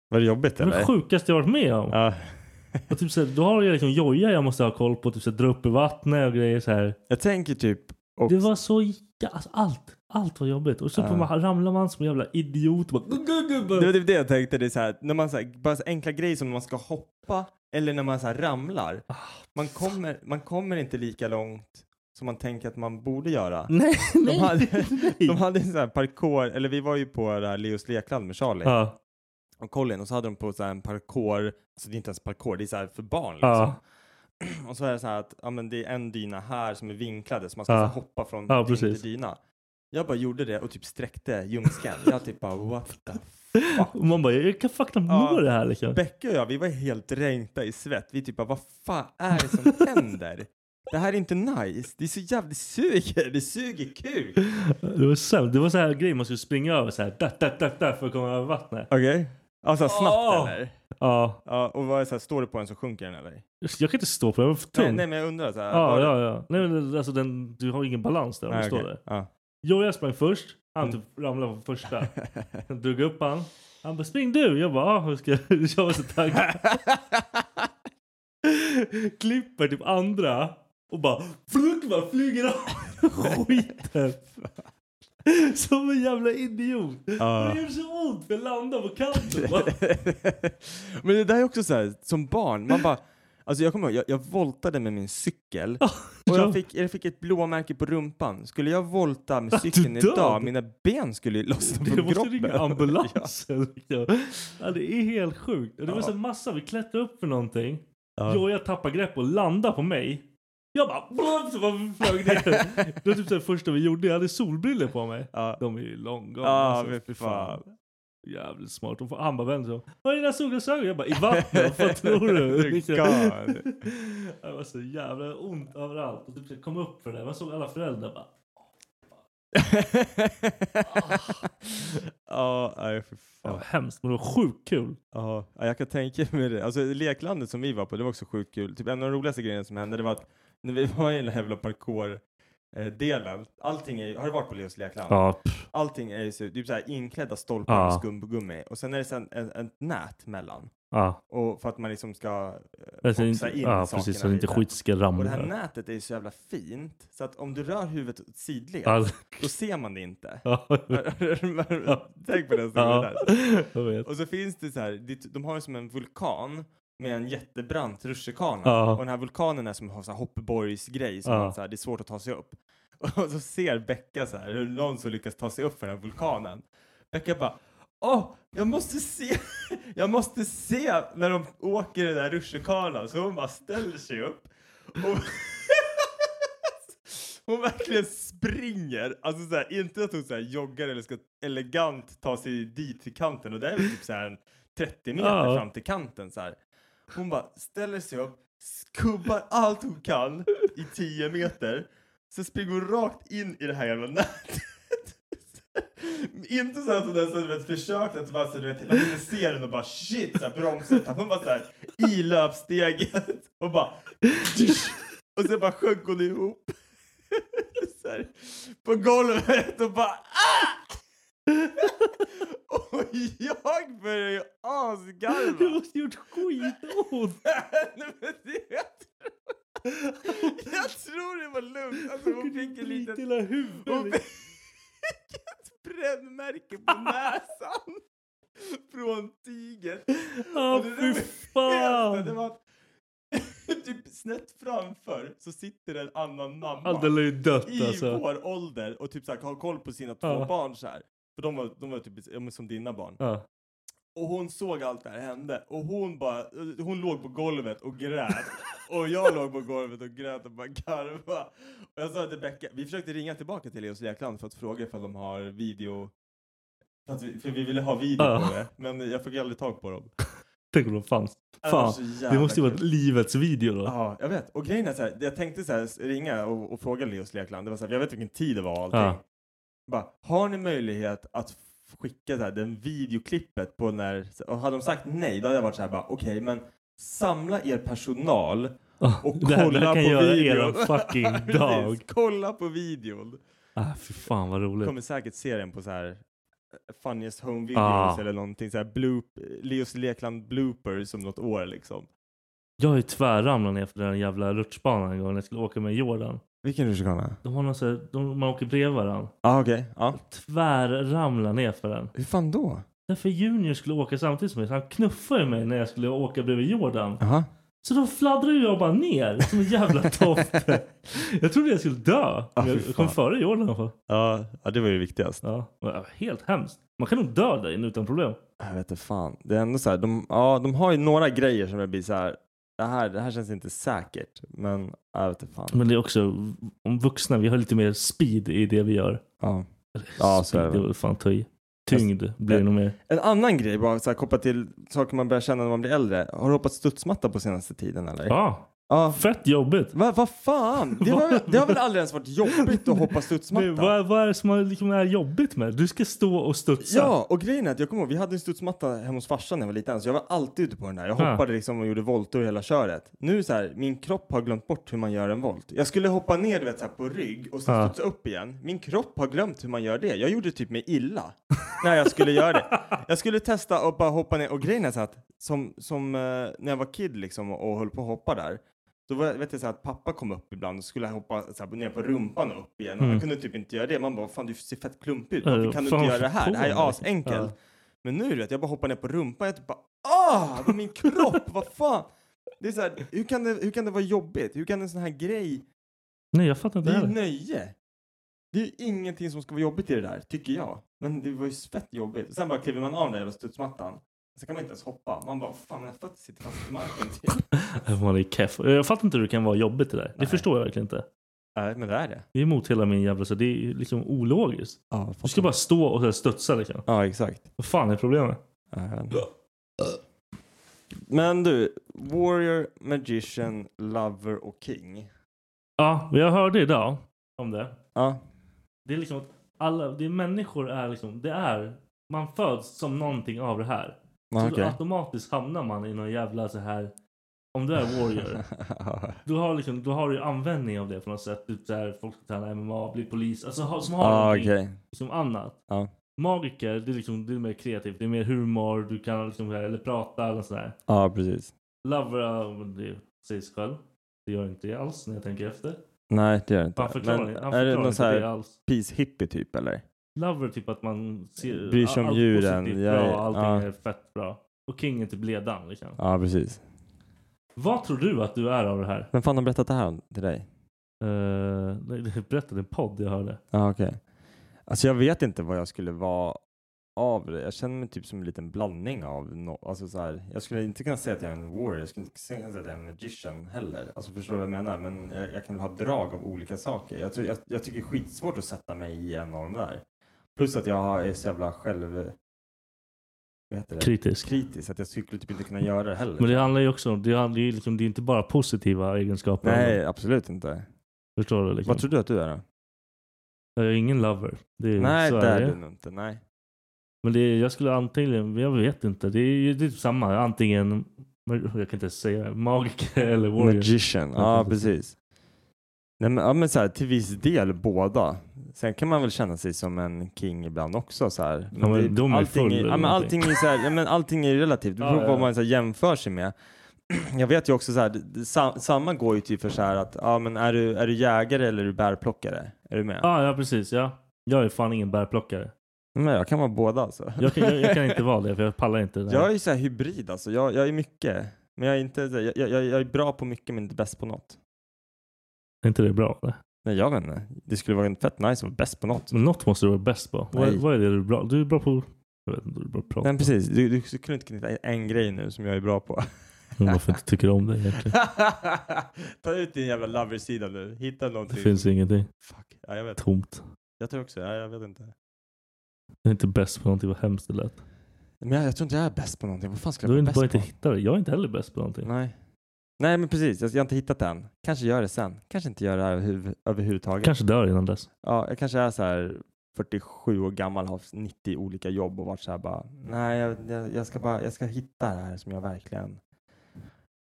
S6: Var det jobbigt
S4: Det är
S6: eller?
S4: det sjukaste jag varit med om.
S6: Ja.
S4: Och typ så här, då har jag liksom Joja jag måste ha koll på. Typ så här, dra upp i vattnet och grejer så här.
S6: Jag tänker typ
S7: Och
S4: Det var så... jä- Alltså, allt. Allt var jobbigt. Och så
S6: Ja.
S4: får man, ramlar man som en jävla idiot. Bara, gu, gu, gu,
S6: Det var
S4: bara.
S6: typ det jag tänkte. Det är så här, när man så här, bara så enkla grejer som när man ska hoppa eller när man så här ramlar.
S4: Ah,
S6: Man kommer, man kommer inte lika långt som man tänker att man borde göra.
S4: Nej,
S6: De
S4: nej,
S6: hade,
S4: nej.
S6: de hade en sån här parkour, eller vi var ju på det här Leos lekland med Charlie
S4: Ja,
S6: och Colin och så hade de på så här en parkour, alltså det är inte ens parkour, det är så här för barn liksom.
S4: ja,
S6: Och så är det så här att ja, men det är en dyna här som är vinklade så man ska
S4: Ja.
S6: så här hoppa från
S4: Ja,
S6: ja, till
S4: precis.
S6: dyna. Jag bara gjorde det och typ sträckte ljumsken. Jag typ bara what the fuck.
S4: Och man bara, jag kan fucking
S6: Ja.
S4: nå det här liksom.
S6: Becka och jag, vi var helt dränkta i svett. Vi typ bara, vad fan är det som händer? Det här är inte nice. Det är så jävligt, det suger, det suger kuk.
S4: Det var sämst. Det var så här grejer man skulle springa över så här. Där, där, där, där för att komma över vattnet.
S6: Okej. Alltså snabbt
S4: Åh!
S6: eller?
S4: Ja.
S6: Ja, och vad är så här, står det på den så sjunker den eller?
S4: Jag kan inte stå på det, jag var för tung.
S6: Nej, nej, men jag undrar så här.
S4: ja,
S6: var det-
S4: ja, ja. Nej, men alltså den, du har ingen balans där om
S6: Nej,
S4: du står
S6: okej.
S4: där.
S6: Ja.
S4: Jo, jag sprang först. Han
S6: Mm.
S4: typ ramlade på första. Jag drog upp han. Han bara spring du. Jag bara ah, hur ska jag? Jag var så taggad. Klipper typ andra och bara flug bara flyger av skiten. Som en jävla idiot.
S6: Ja.
S4: Det gör så ont för jag landar på kanten. va?
S6: men det där är också så här, som barn, man bara Alltså jag kommer ihåg, jag, jag voltade med min cykel och jag fick, jag fick ett blåmärke på rumpan. Skulle jag volta med
S4: Att du
S6: cykeln
S4: dör?
S6: idag, mina ben skulle ju lossna
S4: Du
S6: från
S4: måste
S6: kroppen.
S4: ringa ambulansen. liksom. ja, det är helt sjukt. Och Det var så en massa, vi klättrade upp för någonting.
S6: Ja.
S4: Jo, jag tappar grepp och landar på mig. Jag bara, blum, så bara flög ner. Det var typ så här första vi gjorde. Jag hade solbriller på mig.
S6: Ja.
S4: De alltså, är ju långgångna.
S6: Ja, men fy fan.
S4: Jävligt smart. Och han bara vände sig om. Var är dina solglasögon? Jag bara, i vattnet? Vad tror
S6: Du
S4: du? Liksom.
S6: gal.
S4: Det var så jävla ont överallt. Och typ så jag kom upp för det. där. Man såg alla föräldrar bara.
S6: Ja, nej för
S4: Det var
S6: fan.
S4: hemskt, men det var sjukt kul.
S6: Ja, ja, jag kan tänka mig det. Alltså leklandet som vi var på, det var också sjukt kul. Typ en av de roligaste grejerna som hände, det var att när vi var i den här jävla parkour-delen, allting är ju- har du varit på Leos lekland?
S4: Ja,
S6: Allting är ju så, typ såhär inklädda stolpar
S4: Ja.
S6: med skumgummi och sen är det sen en, ett nät mellan.
S4: ja.
S6: Och för att man liksom ska eh, boxa
S4: Alltså, inte,
S6: in
S4: ja
S6: sakerna
S4: precis, så att inte
S6: lite.
S4: skit ska ramla.
S6: Och det här nätet är ju så jävla fint så att om du rör huvudet åt sidled
S4: Ja,
S6: då ser man det inte.
S4: Alltså, ja,
S6: Tänk på det. som är
S4: ja,
S6: där.
S4: jag vet.
S6: Och så finns det så här, det- de har ju som en vulkan med en jättebrant rutschkana.
S4: Ja.
S6: Och den här vulkanen är som har så här hoppborgsgrej, som
S4: Ja.
S6: man så här, det är svårt att ta sig upp. Och så ser Becka så här, hur någon som lyckas ta sig upp för den här vulkanen. Becka bara, åh, jag måste se, jag måste se när de åker i den där rutschkanan. Så hon bara ställer sig upp. Och hon verkligen springer, alltså så här, inte att hon så här joggar eller ska elegant ta sig dit till kanten och där är väl typ så här en 30 meter
S4: Ja.
S6: fram till kanten så här. Hon bara ställer sig upp, skubbar allt hon kan i 10 meter, sen springer hon rakt in i det här jävla nätet. Inte så att hon ens hade försökt att bara så du vet, man inte ser den och bara shit, så här, bromsa, utan hon bara så här i löpsteget och bara och sen bara sjönk hon ihop. så här, på golvet och bara ah! och jag började ju
S4: Det
S6: asgarva.
S4: måste gjort skitont!
S6: Nej, men det- jag tror- Jag tror det var lugnt. Alltså hon fick en
S4: Skit i
S6: liten
S4: hela huvudet!
S6: hon fick ett brännmärke på näsan från tyget.
S4: Ja,
S6: Och det
S4: Ah, fy
S6: roligaste,
S4: fan.
S6: Det var att typ snett framför så sitter en annan mamma
S4: Ja, Den är ju dött
S6: i
S4: alltså.
S6: vår ålder och typ så här, har koll på sina två
S4: Ja.
S6: barn så här. För de var, de var typ ja, men som dina barn.
S4: Ja.
S6: Och hon såg allt det här hände och hon bara, hon låg på golvet och grät. och jag låg på golvet och grät och bara garva. Och jag sa till Becka, vi försökte ringa tillbaka till Leos Lekland för att fråga ifall de har video. För att vi, för vi ville ha video
S4: Ja.
S6: på det, men jag fick aldrig tag på dem.
S4: Tänk om de fanns.
S6: Det var
S4: Fan,
S6: så
S4: det
S6: jävla
S4: måste ju vara
S6: kul.
S4: livets video då.
S6: Ja, jag vet. Och grejen är så här, jag tänkte så här, ringa och, och fråga Leos Lekland. Det var så här, jag vet vilken tid det var och allting.
S4: Ja.
S6: Bara, har ni möjlighet att f- skicka så här, den videoklippet på när... Och hade de sagt nej, då hade jag varit så här bara, okej, men samla er personal
S4: Ja,
S6: och
S4: Ah, det här,
S6: kolla
S4: det här kan
S6: på
S4: göra
S6: videon.
S4: eran fucking
S6: Precis,
S4: dag.
S6: kolla på videon.
S4: ah, fy fan vad roligt.
S6: Kommer säkert se den på så här eh, funniest home videos
S4: Ah.
S6: eller någonting så här bloop, Leos Lekland bloopers om något år liksom.
S4: Jag har ju tvärramlat ner för den jävla rutschbanan en gång när jag skulle åka med Jordan.
S6: Vilken rutschkana?
S4: De har någon så här, de, man åker bredvid varandra.
S6: Ja, Ah, okej. Ja.
S4: Tvärramlar ner för den.
S6: Hur fan då?
S4: Därför Junior skulle åka samtidigt som mig. Så han knuffade ju mig när jag skulle åka bredvid Jordan.
S6: Jaha.
S4: Så då fladdrade jag bara ner som en jävla tofte. jag trodde jag skulle dö.
S6: Ah,
S4: Men
S6: fy
S4: jag kom
S6: fan.
S4: före Jordan i alla fall.
S6: Ja, ja, det var ju viktigast.
S4: Ja, det var helt hemskt. Man kan nog dö där inne utan problem.
S6: Jag vet inte fan. Det är ändå så här, de, ja, de har ju några grejer som jag blir så här. Det här, det här känns inte säkert, men jag vet inte fan.
S4: Men det är också, om vuxna, vi har lite mer speed i det vi gör.
S6: Ja.
S4: Eller
S6: Ja, så
S4: speed,
S6: är det.
S4: det var fan ta i. Tyngd blir det nog mer.
S6: En annan grej, bara så här, kopplat till saker man börjar känna när man blir äldre. Har du hoppat studsmatta på senaste tiden eller?
S4: Ja,
S6: Ja.
S4: fett jobbigt.
S6: Va- Vad fan? Det, var, det har väl aldrig ens varit jobbigt att hoppa studsmatta?
S4: Men vad, vad är det som är, liksom är jobbigt med det? Du ska stå och studsa.
S6: Ja, och grejen är att jag kommer ihåg, vi hade en studsmatta hemma hos farsan när jag var liten, så jag var alltid ute på den där. Jag
S4: Ja.
S6: hoppade liksom och gjorde volter hela köret. Nu så här, min kropp har glömt bort hur man gör en volt. Jag skulle hoppa ner du vet, så här, på rygg och sen
S4: Ja.
S6: studsa upp igen. Min kropp har glömt hur man gör det. Jag gjorde typ mig illa när jag skulle göra det. Jag skulle testa att bara hoppa ner och grejen är så här att som, som eh, när jag var kid liksom och, och höll på att hoppa där. Då var, jag- vet jag så här, att pappa kom upp ibland och skulle hoppa så här, ner på rumpan och upp igen. Och
S4: Mm.
S6: jag kunde typ inte göra det. Man bara, fan du ser fett klumpig ut.
S4: Ja,
S6: Varför kan du
S4: fan,
S6: inte göra det
S4: vad
S6: här? Det här
S4: på
S6: är
S4: med.
S6: asenkelt.
S4: Ja.
S6: Men nu du vet, jag bara hoppar ner på rumpan. Jag typ bara, ah! Vad min kropp, vad fan! Det är så här, hur kan det, hur kan det vara jobbigt? Hur kan en sån här grej,
S4: Nej, jag fattar
S6: det
S4: inte
S6: är ju
S4: heller.
S6: nöje. Det är ju ingenting som ska vara jobbigt i det där, tycker jag. Men det var ju fett jobbigt. Sen bara kliver man av den där jävla studsmattan. Sen kan man inte ens hoppa. Man bara, fan mina fötter sitter fast i marken. typ.
S4: Man är keff. Jag fattar inte hur det kan vara jobbigt det där. Det
S6: Nej.
S4: förstår jag verkligen inte.
S6: Nej, men det är det.
S4: Det är emot hela min jävla... Så det är ju liksom ologiskt.
S6: Ja,
S4: Du ska bara stå och så här studsa liksom.
S6: Ja, exakt.
S4: Vad fan är problemet?
S6: Men du, Warrior, Magician, Lover och King.
S4: Ja, men jag hörde idag om det.
S6: Ja,
S4: Det är liksom att alla, det är människor är liksom, det är, man föds som någonting av det här.
S6: ah,
S4: Så
S6: okej.
S4: automatiskt hamnar man i någon jävla så här, om du är warrior, du har liksom, du har ju användning av det på något sätt. Typ så här, folk som tränar MMA, blir polis, alltså ha, som har
S6: ah,
S4: någonting
S6: okej.
S4: liksom annat.
S6: Ja.
S4: Magiker, det är liksom, det är mer kreativt, det är mer humor, du kan liksom, så här, eller prata eller sådär.
S6: Ja, precis.
S4: Lover, ja, men det säger sig själv. Det gör inte det alls när jag tänker efter.
S6: Nej, det gör det inte.
S4: Han förklarar,
S6: Men
S4: han
S6: är det
S4: förklarar
S6: någon
S4: inte
S6: sån
S4: det
S6: här
S4: alls.
S6: peace hippie typ eller?
S4: Lover typ att man ser
S6: Bryr sig om
S4: allt
S6: djuren,
S4: positivt
S6: jag
S4: bra,
S6: är-
S4: allting
S6: ja.
S4: är fett bra. Och King är typ ledaren liksom.
S6: Ja, precis.
S4: Vad tror du att du är av det här?
S6: Vem fan har berättat det här om- till dig?
S4: Uh, det berättade en podd jag hörde.
S6: Ja, okej. Alltså jag vet inte vad jag skulle vara av det. Jag känner mig typ som en liten blandning av no- alltså så här, Jag skulle inte kunna säga att jag är en warrior, jag skulle inte kunna säga att jag är en magician heller. Alltså förstår du vad jag menar? Men jag, jag kan väl ha drag av olika saker. Jag, tror- jag, jag tycker det är skitsvårt att sätta mig i en av de där. Plus att jag har- är så jävla själv... Vad heter det?
S4: Kritisk.
S6: Kritisk. Att jag skulle typ inte kunna göra det heller.
S4: Men det handlar ju också om, det, handlar ju liksom, det är inte bara positiva egenskaper.
S6: Nej, absolut inte.
S4: Förstår du? Liksom.
S6: Vad tror du att du är då?
S4: Jag är ingen lover. Det är,
S6: Nej,
S4: så
S6: det är
S4: det.
S6: du nog inte. Nej.
S4: Men det är, jag skulle antingen, jag vet inte. Det är ju det är typ samma. Antingen, jag kan inte ens säga det, magiker eller warrior.
S6: Magician,
S4: Ja,
S6: ja precis. Nej, men, ja, men så här, till viss del båda. Sen kan man väl känna sig som en king ibland också. Så här.
S4: Ja, men de är
S6: allting,
S4: full
S6: är,
S4: eller
S6: ja, men
S4: någonting.
S6: allting, är så här, ja, men allting är ju relativt, det
S4: Ja,
S6: beror på
S4: ja,
S6: vad
S4: ja.
S6: man så här, jämför sig med. Jag vet ju också så här, det- det- sa, samma går ju till för så här att ja, men är, du, är du jägare eller är du bärplockare? Är du med?
S4: Ja, ja precis. Ja. Jag är fan ingen bärplockare.
S6: Men jag kan vara båda alltså.
S4: Jag kan, jag, jag kan inte vara det för jag pallar inte det där.
S6: Jag är ju så här hybrid alltså, jag, jag är mycket. Men jag är, inte, så här- jag, jag, jag är bra på mycket men inte bäst på något.
S4: Är inte det bra? Eller?
S6: Nej jag vet inte. Det skulle vara fett nice att vara bäst på något.
S4: Men något måste du vara bäst på. Vad,
S6: Nej.
S4: vad är det du är bra Du är bra på... Jag vet inte, du är bra på att prata.
S6: Nej precis, du, du kunde inte knyta en grej nu som jag är bra på.
S4: Men varför inte tycker om det egentligen?
S6: Ta ut din jävla lover-sida nu, hitta
S4: Det
S6: någonting.
S4: finns ingenting.
S6: Fuck, ja, jag vet.
S4: Tomt.
S6: Jag tror också, ja, jag vet inte.
S4: Jag är inte bäst på någonting. Vad hemskt det lät.
S6: Men jag, jag tror inte jag är bäst på någonting, vad fan skulle
S4: Du har
S6: jag
S4: inte
S6: vara
S4: bara
S6: bäst
S4: inte
S6: på?
S4: hittat det. Jag är inte heller bäst på någonting.
S6: Nej. Nej men precis, jag, jag har inte hittat det än. Kanske gör det sen. Kanske inte gör det här överhuv- överhuvudtaget.
S4: Kanske dör innan dess.
S6: Ja, jag kanske är så här 47 år gammal, har 90 olika jobb och varit så här bara, nej jag, jag, jag ska bara, jag ska hitta det här som jag verkligen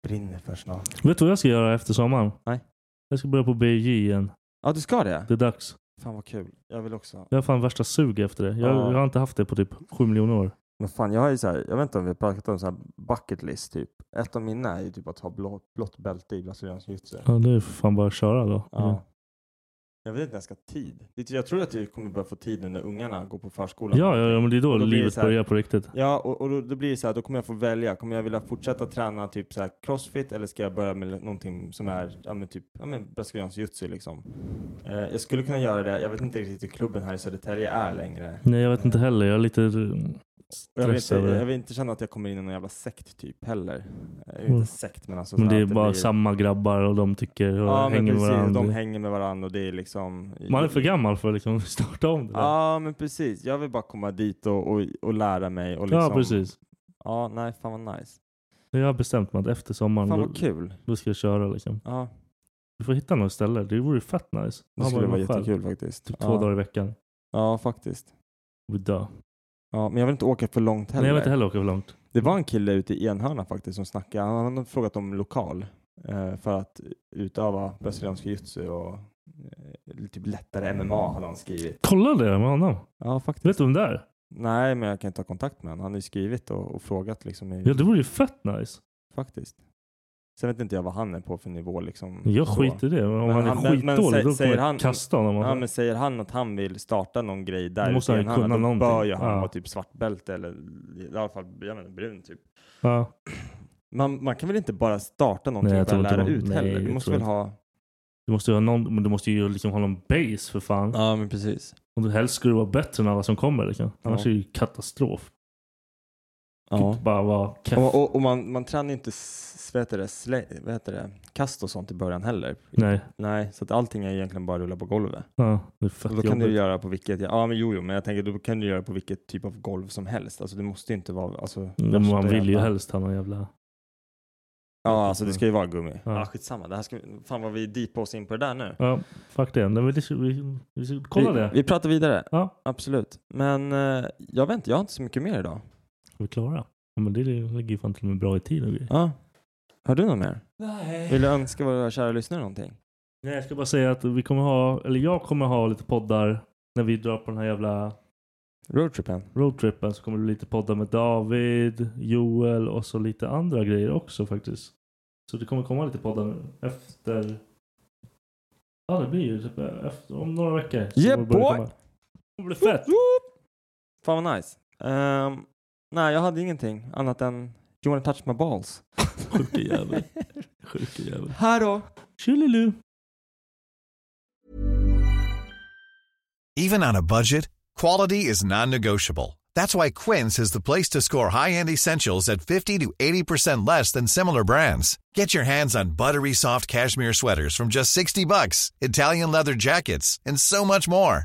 S6: brinner för snart.
S4: Vet du vad jag ska göra efter sommaren?
S6: Nej.
S4: Jag ska börja på BJ igen.
S6: Ja du ska det?
S4: Det är dags.
S6: Fan vad kul. Jag vill också.
S4: Jag har fan värsta sug efter det. Jag,
S6: Ja.
S4: jag har inte haft det på typ 7 miljoner år.
S6: Men fan, jag har ju så här, jag vet inte om vi har pratat om så här bucket list typ. Ett av mina är ju typ att ha blå, blått bälte i brasiliansk jujutsu.
S4: Ja, det är för fan bara att köra då.
S6: Ja. Jag vet inte när jag ska ha tid. Det- typ, Jag tror att jag kommer börja få tid nu när ungarna går på förskolan.
S4: Ja, ja, ja, men det är då,
S6: Då blir det
S4: livet
S6: så här-
S4: börjar på riktigt.
S6: Ja, och, och då, då blir det så här, då kommer jag få välja. Kommer jag vilja fortsätta träna typ så här crossfit eller ska jag börja med någonting som är ja, men typ ja, men brasiliansk jitsu liksom? Eh, jag skulle kunna göra det. Jag vet inte riktigt hur klubben här i Södertälje är längre.
S4: Nej, jag vet inte heller. Jag är lite...
S6: Och jag, vill inte,
S4: stressad över det.
S6: jag vill inte känna att jag kommer in i någon jävla sekt typ heller. Eh,
S4: Mm.
S6: Inte sekt men alltså.
S4: Men
S6: så
S4: det
S6: här
S4: är
S6: att
S4: bara
S6: blir-
S4: samma grabbar och de tycker och
S6: Ja, men
S4: hänger med
S6: precis.
S4: varandra.
S6: De hänger med varandra och det är liksom.
S4: Man är för gammal för att liksom starta om det där.
S6: Ja, men precis. Jag vill bara komma dit och, och, och lära mig. Och liksom,
S4: Ja, precis.
S6: Ja, nej, fan vad nice.
S4: Jag har bestämt mig att efter sommaren,
S6: Fan
S4: då,
S6: vad kul.
S4: då ska jag köra liksom.
S6: Ja,
S4: Du får hitta något ställe. Det vore fett nice.
S6: det
S4: Ha
S6: skulle
S4: bara
S6: vara
S4: mig själv.
S6: jättekul faktiskt.
S4: Typ
S6: ja.
S4: två dagar i veckan.
S6: Ja, faktiskt.
S4: Och dö.
S6: Ja, men jag vill inte åka för långt heller.
S4: Nej, jag vill inte heller åka för långt.
S6: Det var en kille ute i Enhörna faktiskt som snackade. Han han hade frågat om lokal eh, för att utöva brasiliansk jitsu och eh, typ lättare MMA hade han skrivit.
S4: Kolla det med honom.
S6: Ja, faktiskt.
S4: Vet du vem det är?
S6: Nej, men jag kan inte ta kontakt med honom. Han har ju skrivit och, och frågat liksom. I,
S4: Ja, det vore ju fett nice.
S6: Faktiskt. Sen vet inte jag vad han är på för nivå liksom.
S4: Jag
S6: så.
S4: skiter i det. Om
S6: Men
S4: han är
S6: han- men- men
S4: skitdålig
S6: sä-
S4: då kommer
S6: säger
S4: jag
S6: han-
S4: kasta honom.
S6: Ja, men säger han att han vill starta någon grej där
S4: Då måste
S6: ute i
S4: han ju
S6: Enhörna,
S4: kunna
S6: då
S4: någonting.
S6: bör ju han
S4: Ja.
S6: vara typ svartbälte eller i alla fall jag menar, brun typ.
S4: ja.
S6: Man, man kan väl inte bara starta
S4: Nej,
S6: någonting
S4: jag
S6: för att
S4: tror
S6: lära
S4: inte de-
S6: ut
S4: nej,
S6: heller?
S4: jag
S6: Du måste
S4: tror
S6: väl ha...
S4: Du måste ju ha någon, men du måste ju liksom ha någon base för fan.
S6: Ja, men precis.
S4: Och du helst skulle du vara bättre än alla som kommer. Liksom. Annars är det ju katastrof. Du kan
S6: Ja.
S4: inte bara vara keff.
S6: Och, och, och man, man tränar ju inte s- vad heter det, slä, vad heter det, kast och sånt i början heller.
S4: Nej,
S6: Nej, så att allting är egentligen bara att rulla på golvet.
S4: ja, det är
S6: Och
S4: fett
S6: då kan
S4: jobbigt.
S6: du göra på vilket, ja men jo, jo men jag tänker då kan du göra på vilket typ av golv som helst. Alltså det måste ju inte vara, alltså.
S4: Men Mm, man
S6: värsta
S4: vill ju
S6: jävla-
S4: helst ha någon jävla...
S6: Ja, alltså det ska ju vara gummi.
S4: Ja.
S6: Ja, skitsamma. Det här ska, vi- fan vad vi deepar oss in på det där nu.
S4: Ja, fuck det. Nej, men det ska, vi, vi ska kolla
S6: vi,
S4: det.
S6: Vi pratar vidare.
S4: Ja.
S6: Absolut. Men eh, jag vet inte, jag har inte så mycket mer idag.
S4: Är vi klara? Ja, men det ligger ju fan till och med bra i tid och grejer.
S6: Ja. Har du något mer?
S4: Nej.
S6: Vill du önska våra kära lyssnare någonting?
S4: Nej, jag ska bara säga att vi kommer ha, eller jag kommer ha lite poddar när vi drar på den här jävla
S6: Roadtripen?
S4: roadtrippen. Så kommer det bli lite poddar med David, Joel och så lite andra grejer också faktiskt. Så det kommer komma lite poddar efter... Ja, det blir ju typ efter, om några veckor. så
S6: Yeah,
S4: kommer det börja
S6: boy!
S4: komma. Det blir fett!
S6: Fan vad nice. Ehm, nej, jag hade ingenting annat än You wanna touch my balls.
S4: Sjuke jävel. Sjuke jävel.
S6: Här då!
S4: Tjolilu!
S7: Even on a budget, quality is non-negotiable. That's why Quince is the place to score high-end essentials at 50 to 80% less than similar brands. Get your hands on buttery soft cashmere sweaters from just 60 bucks, Italian leather jackets, and so much more.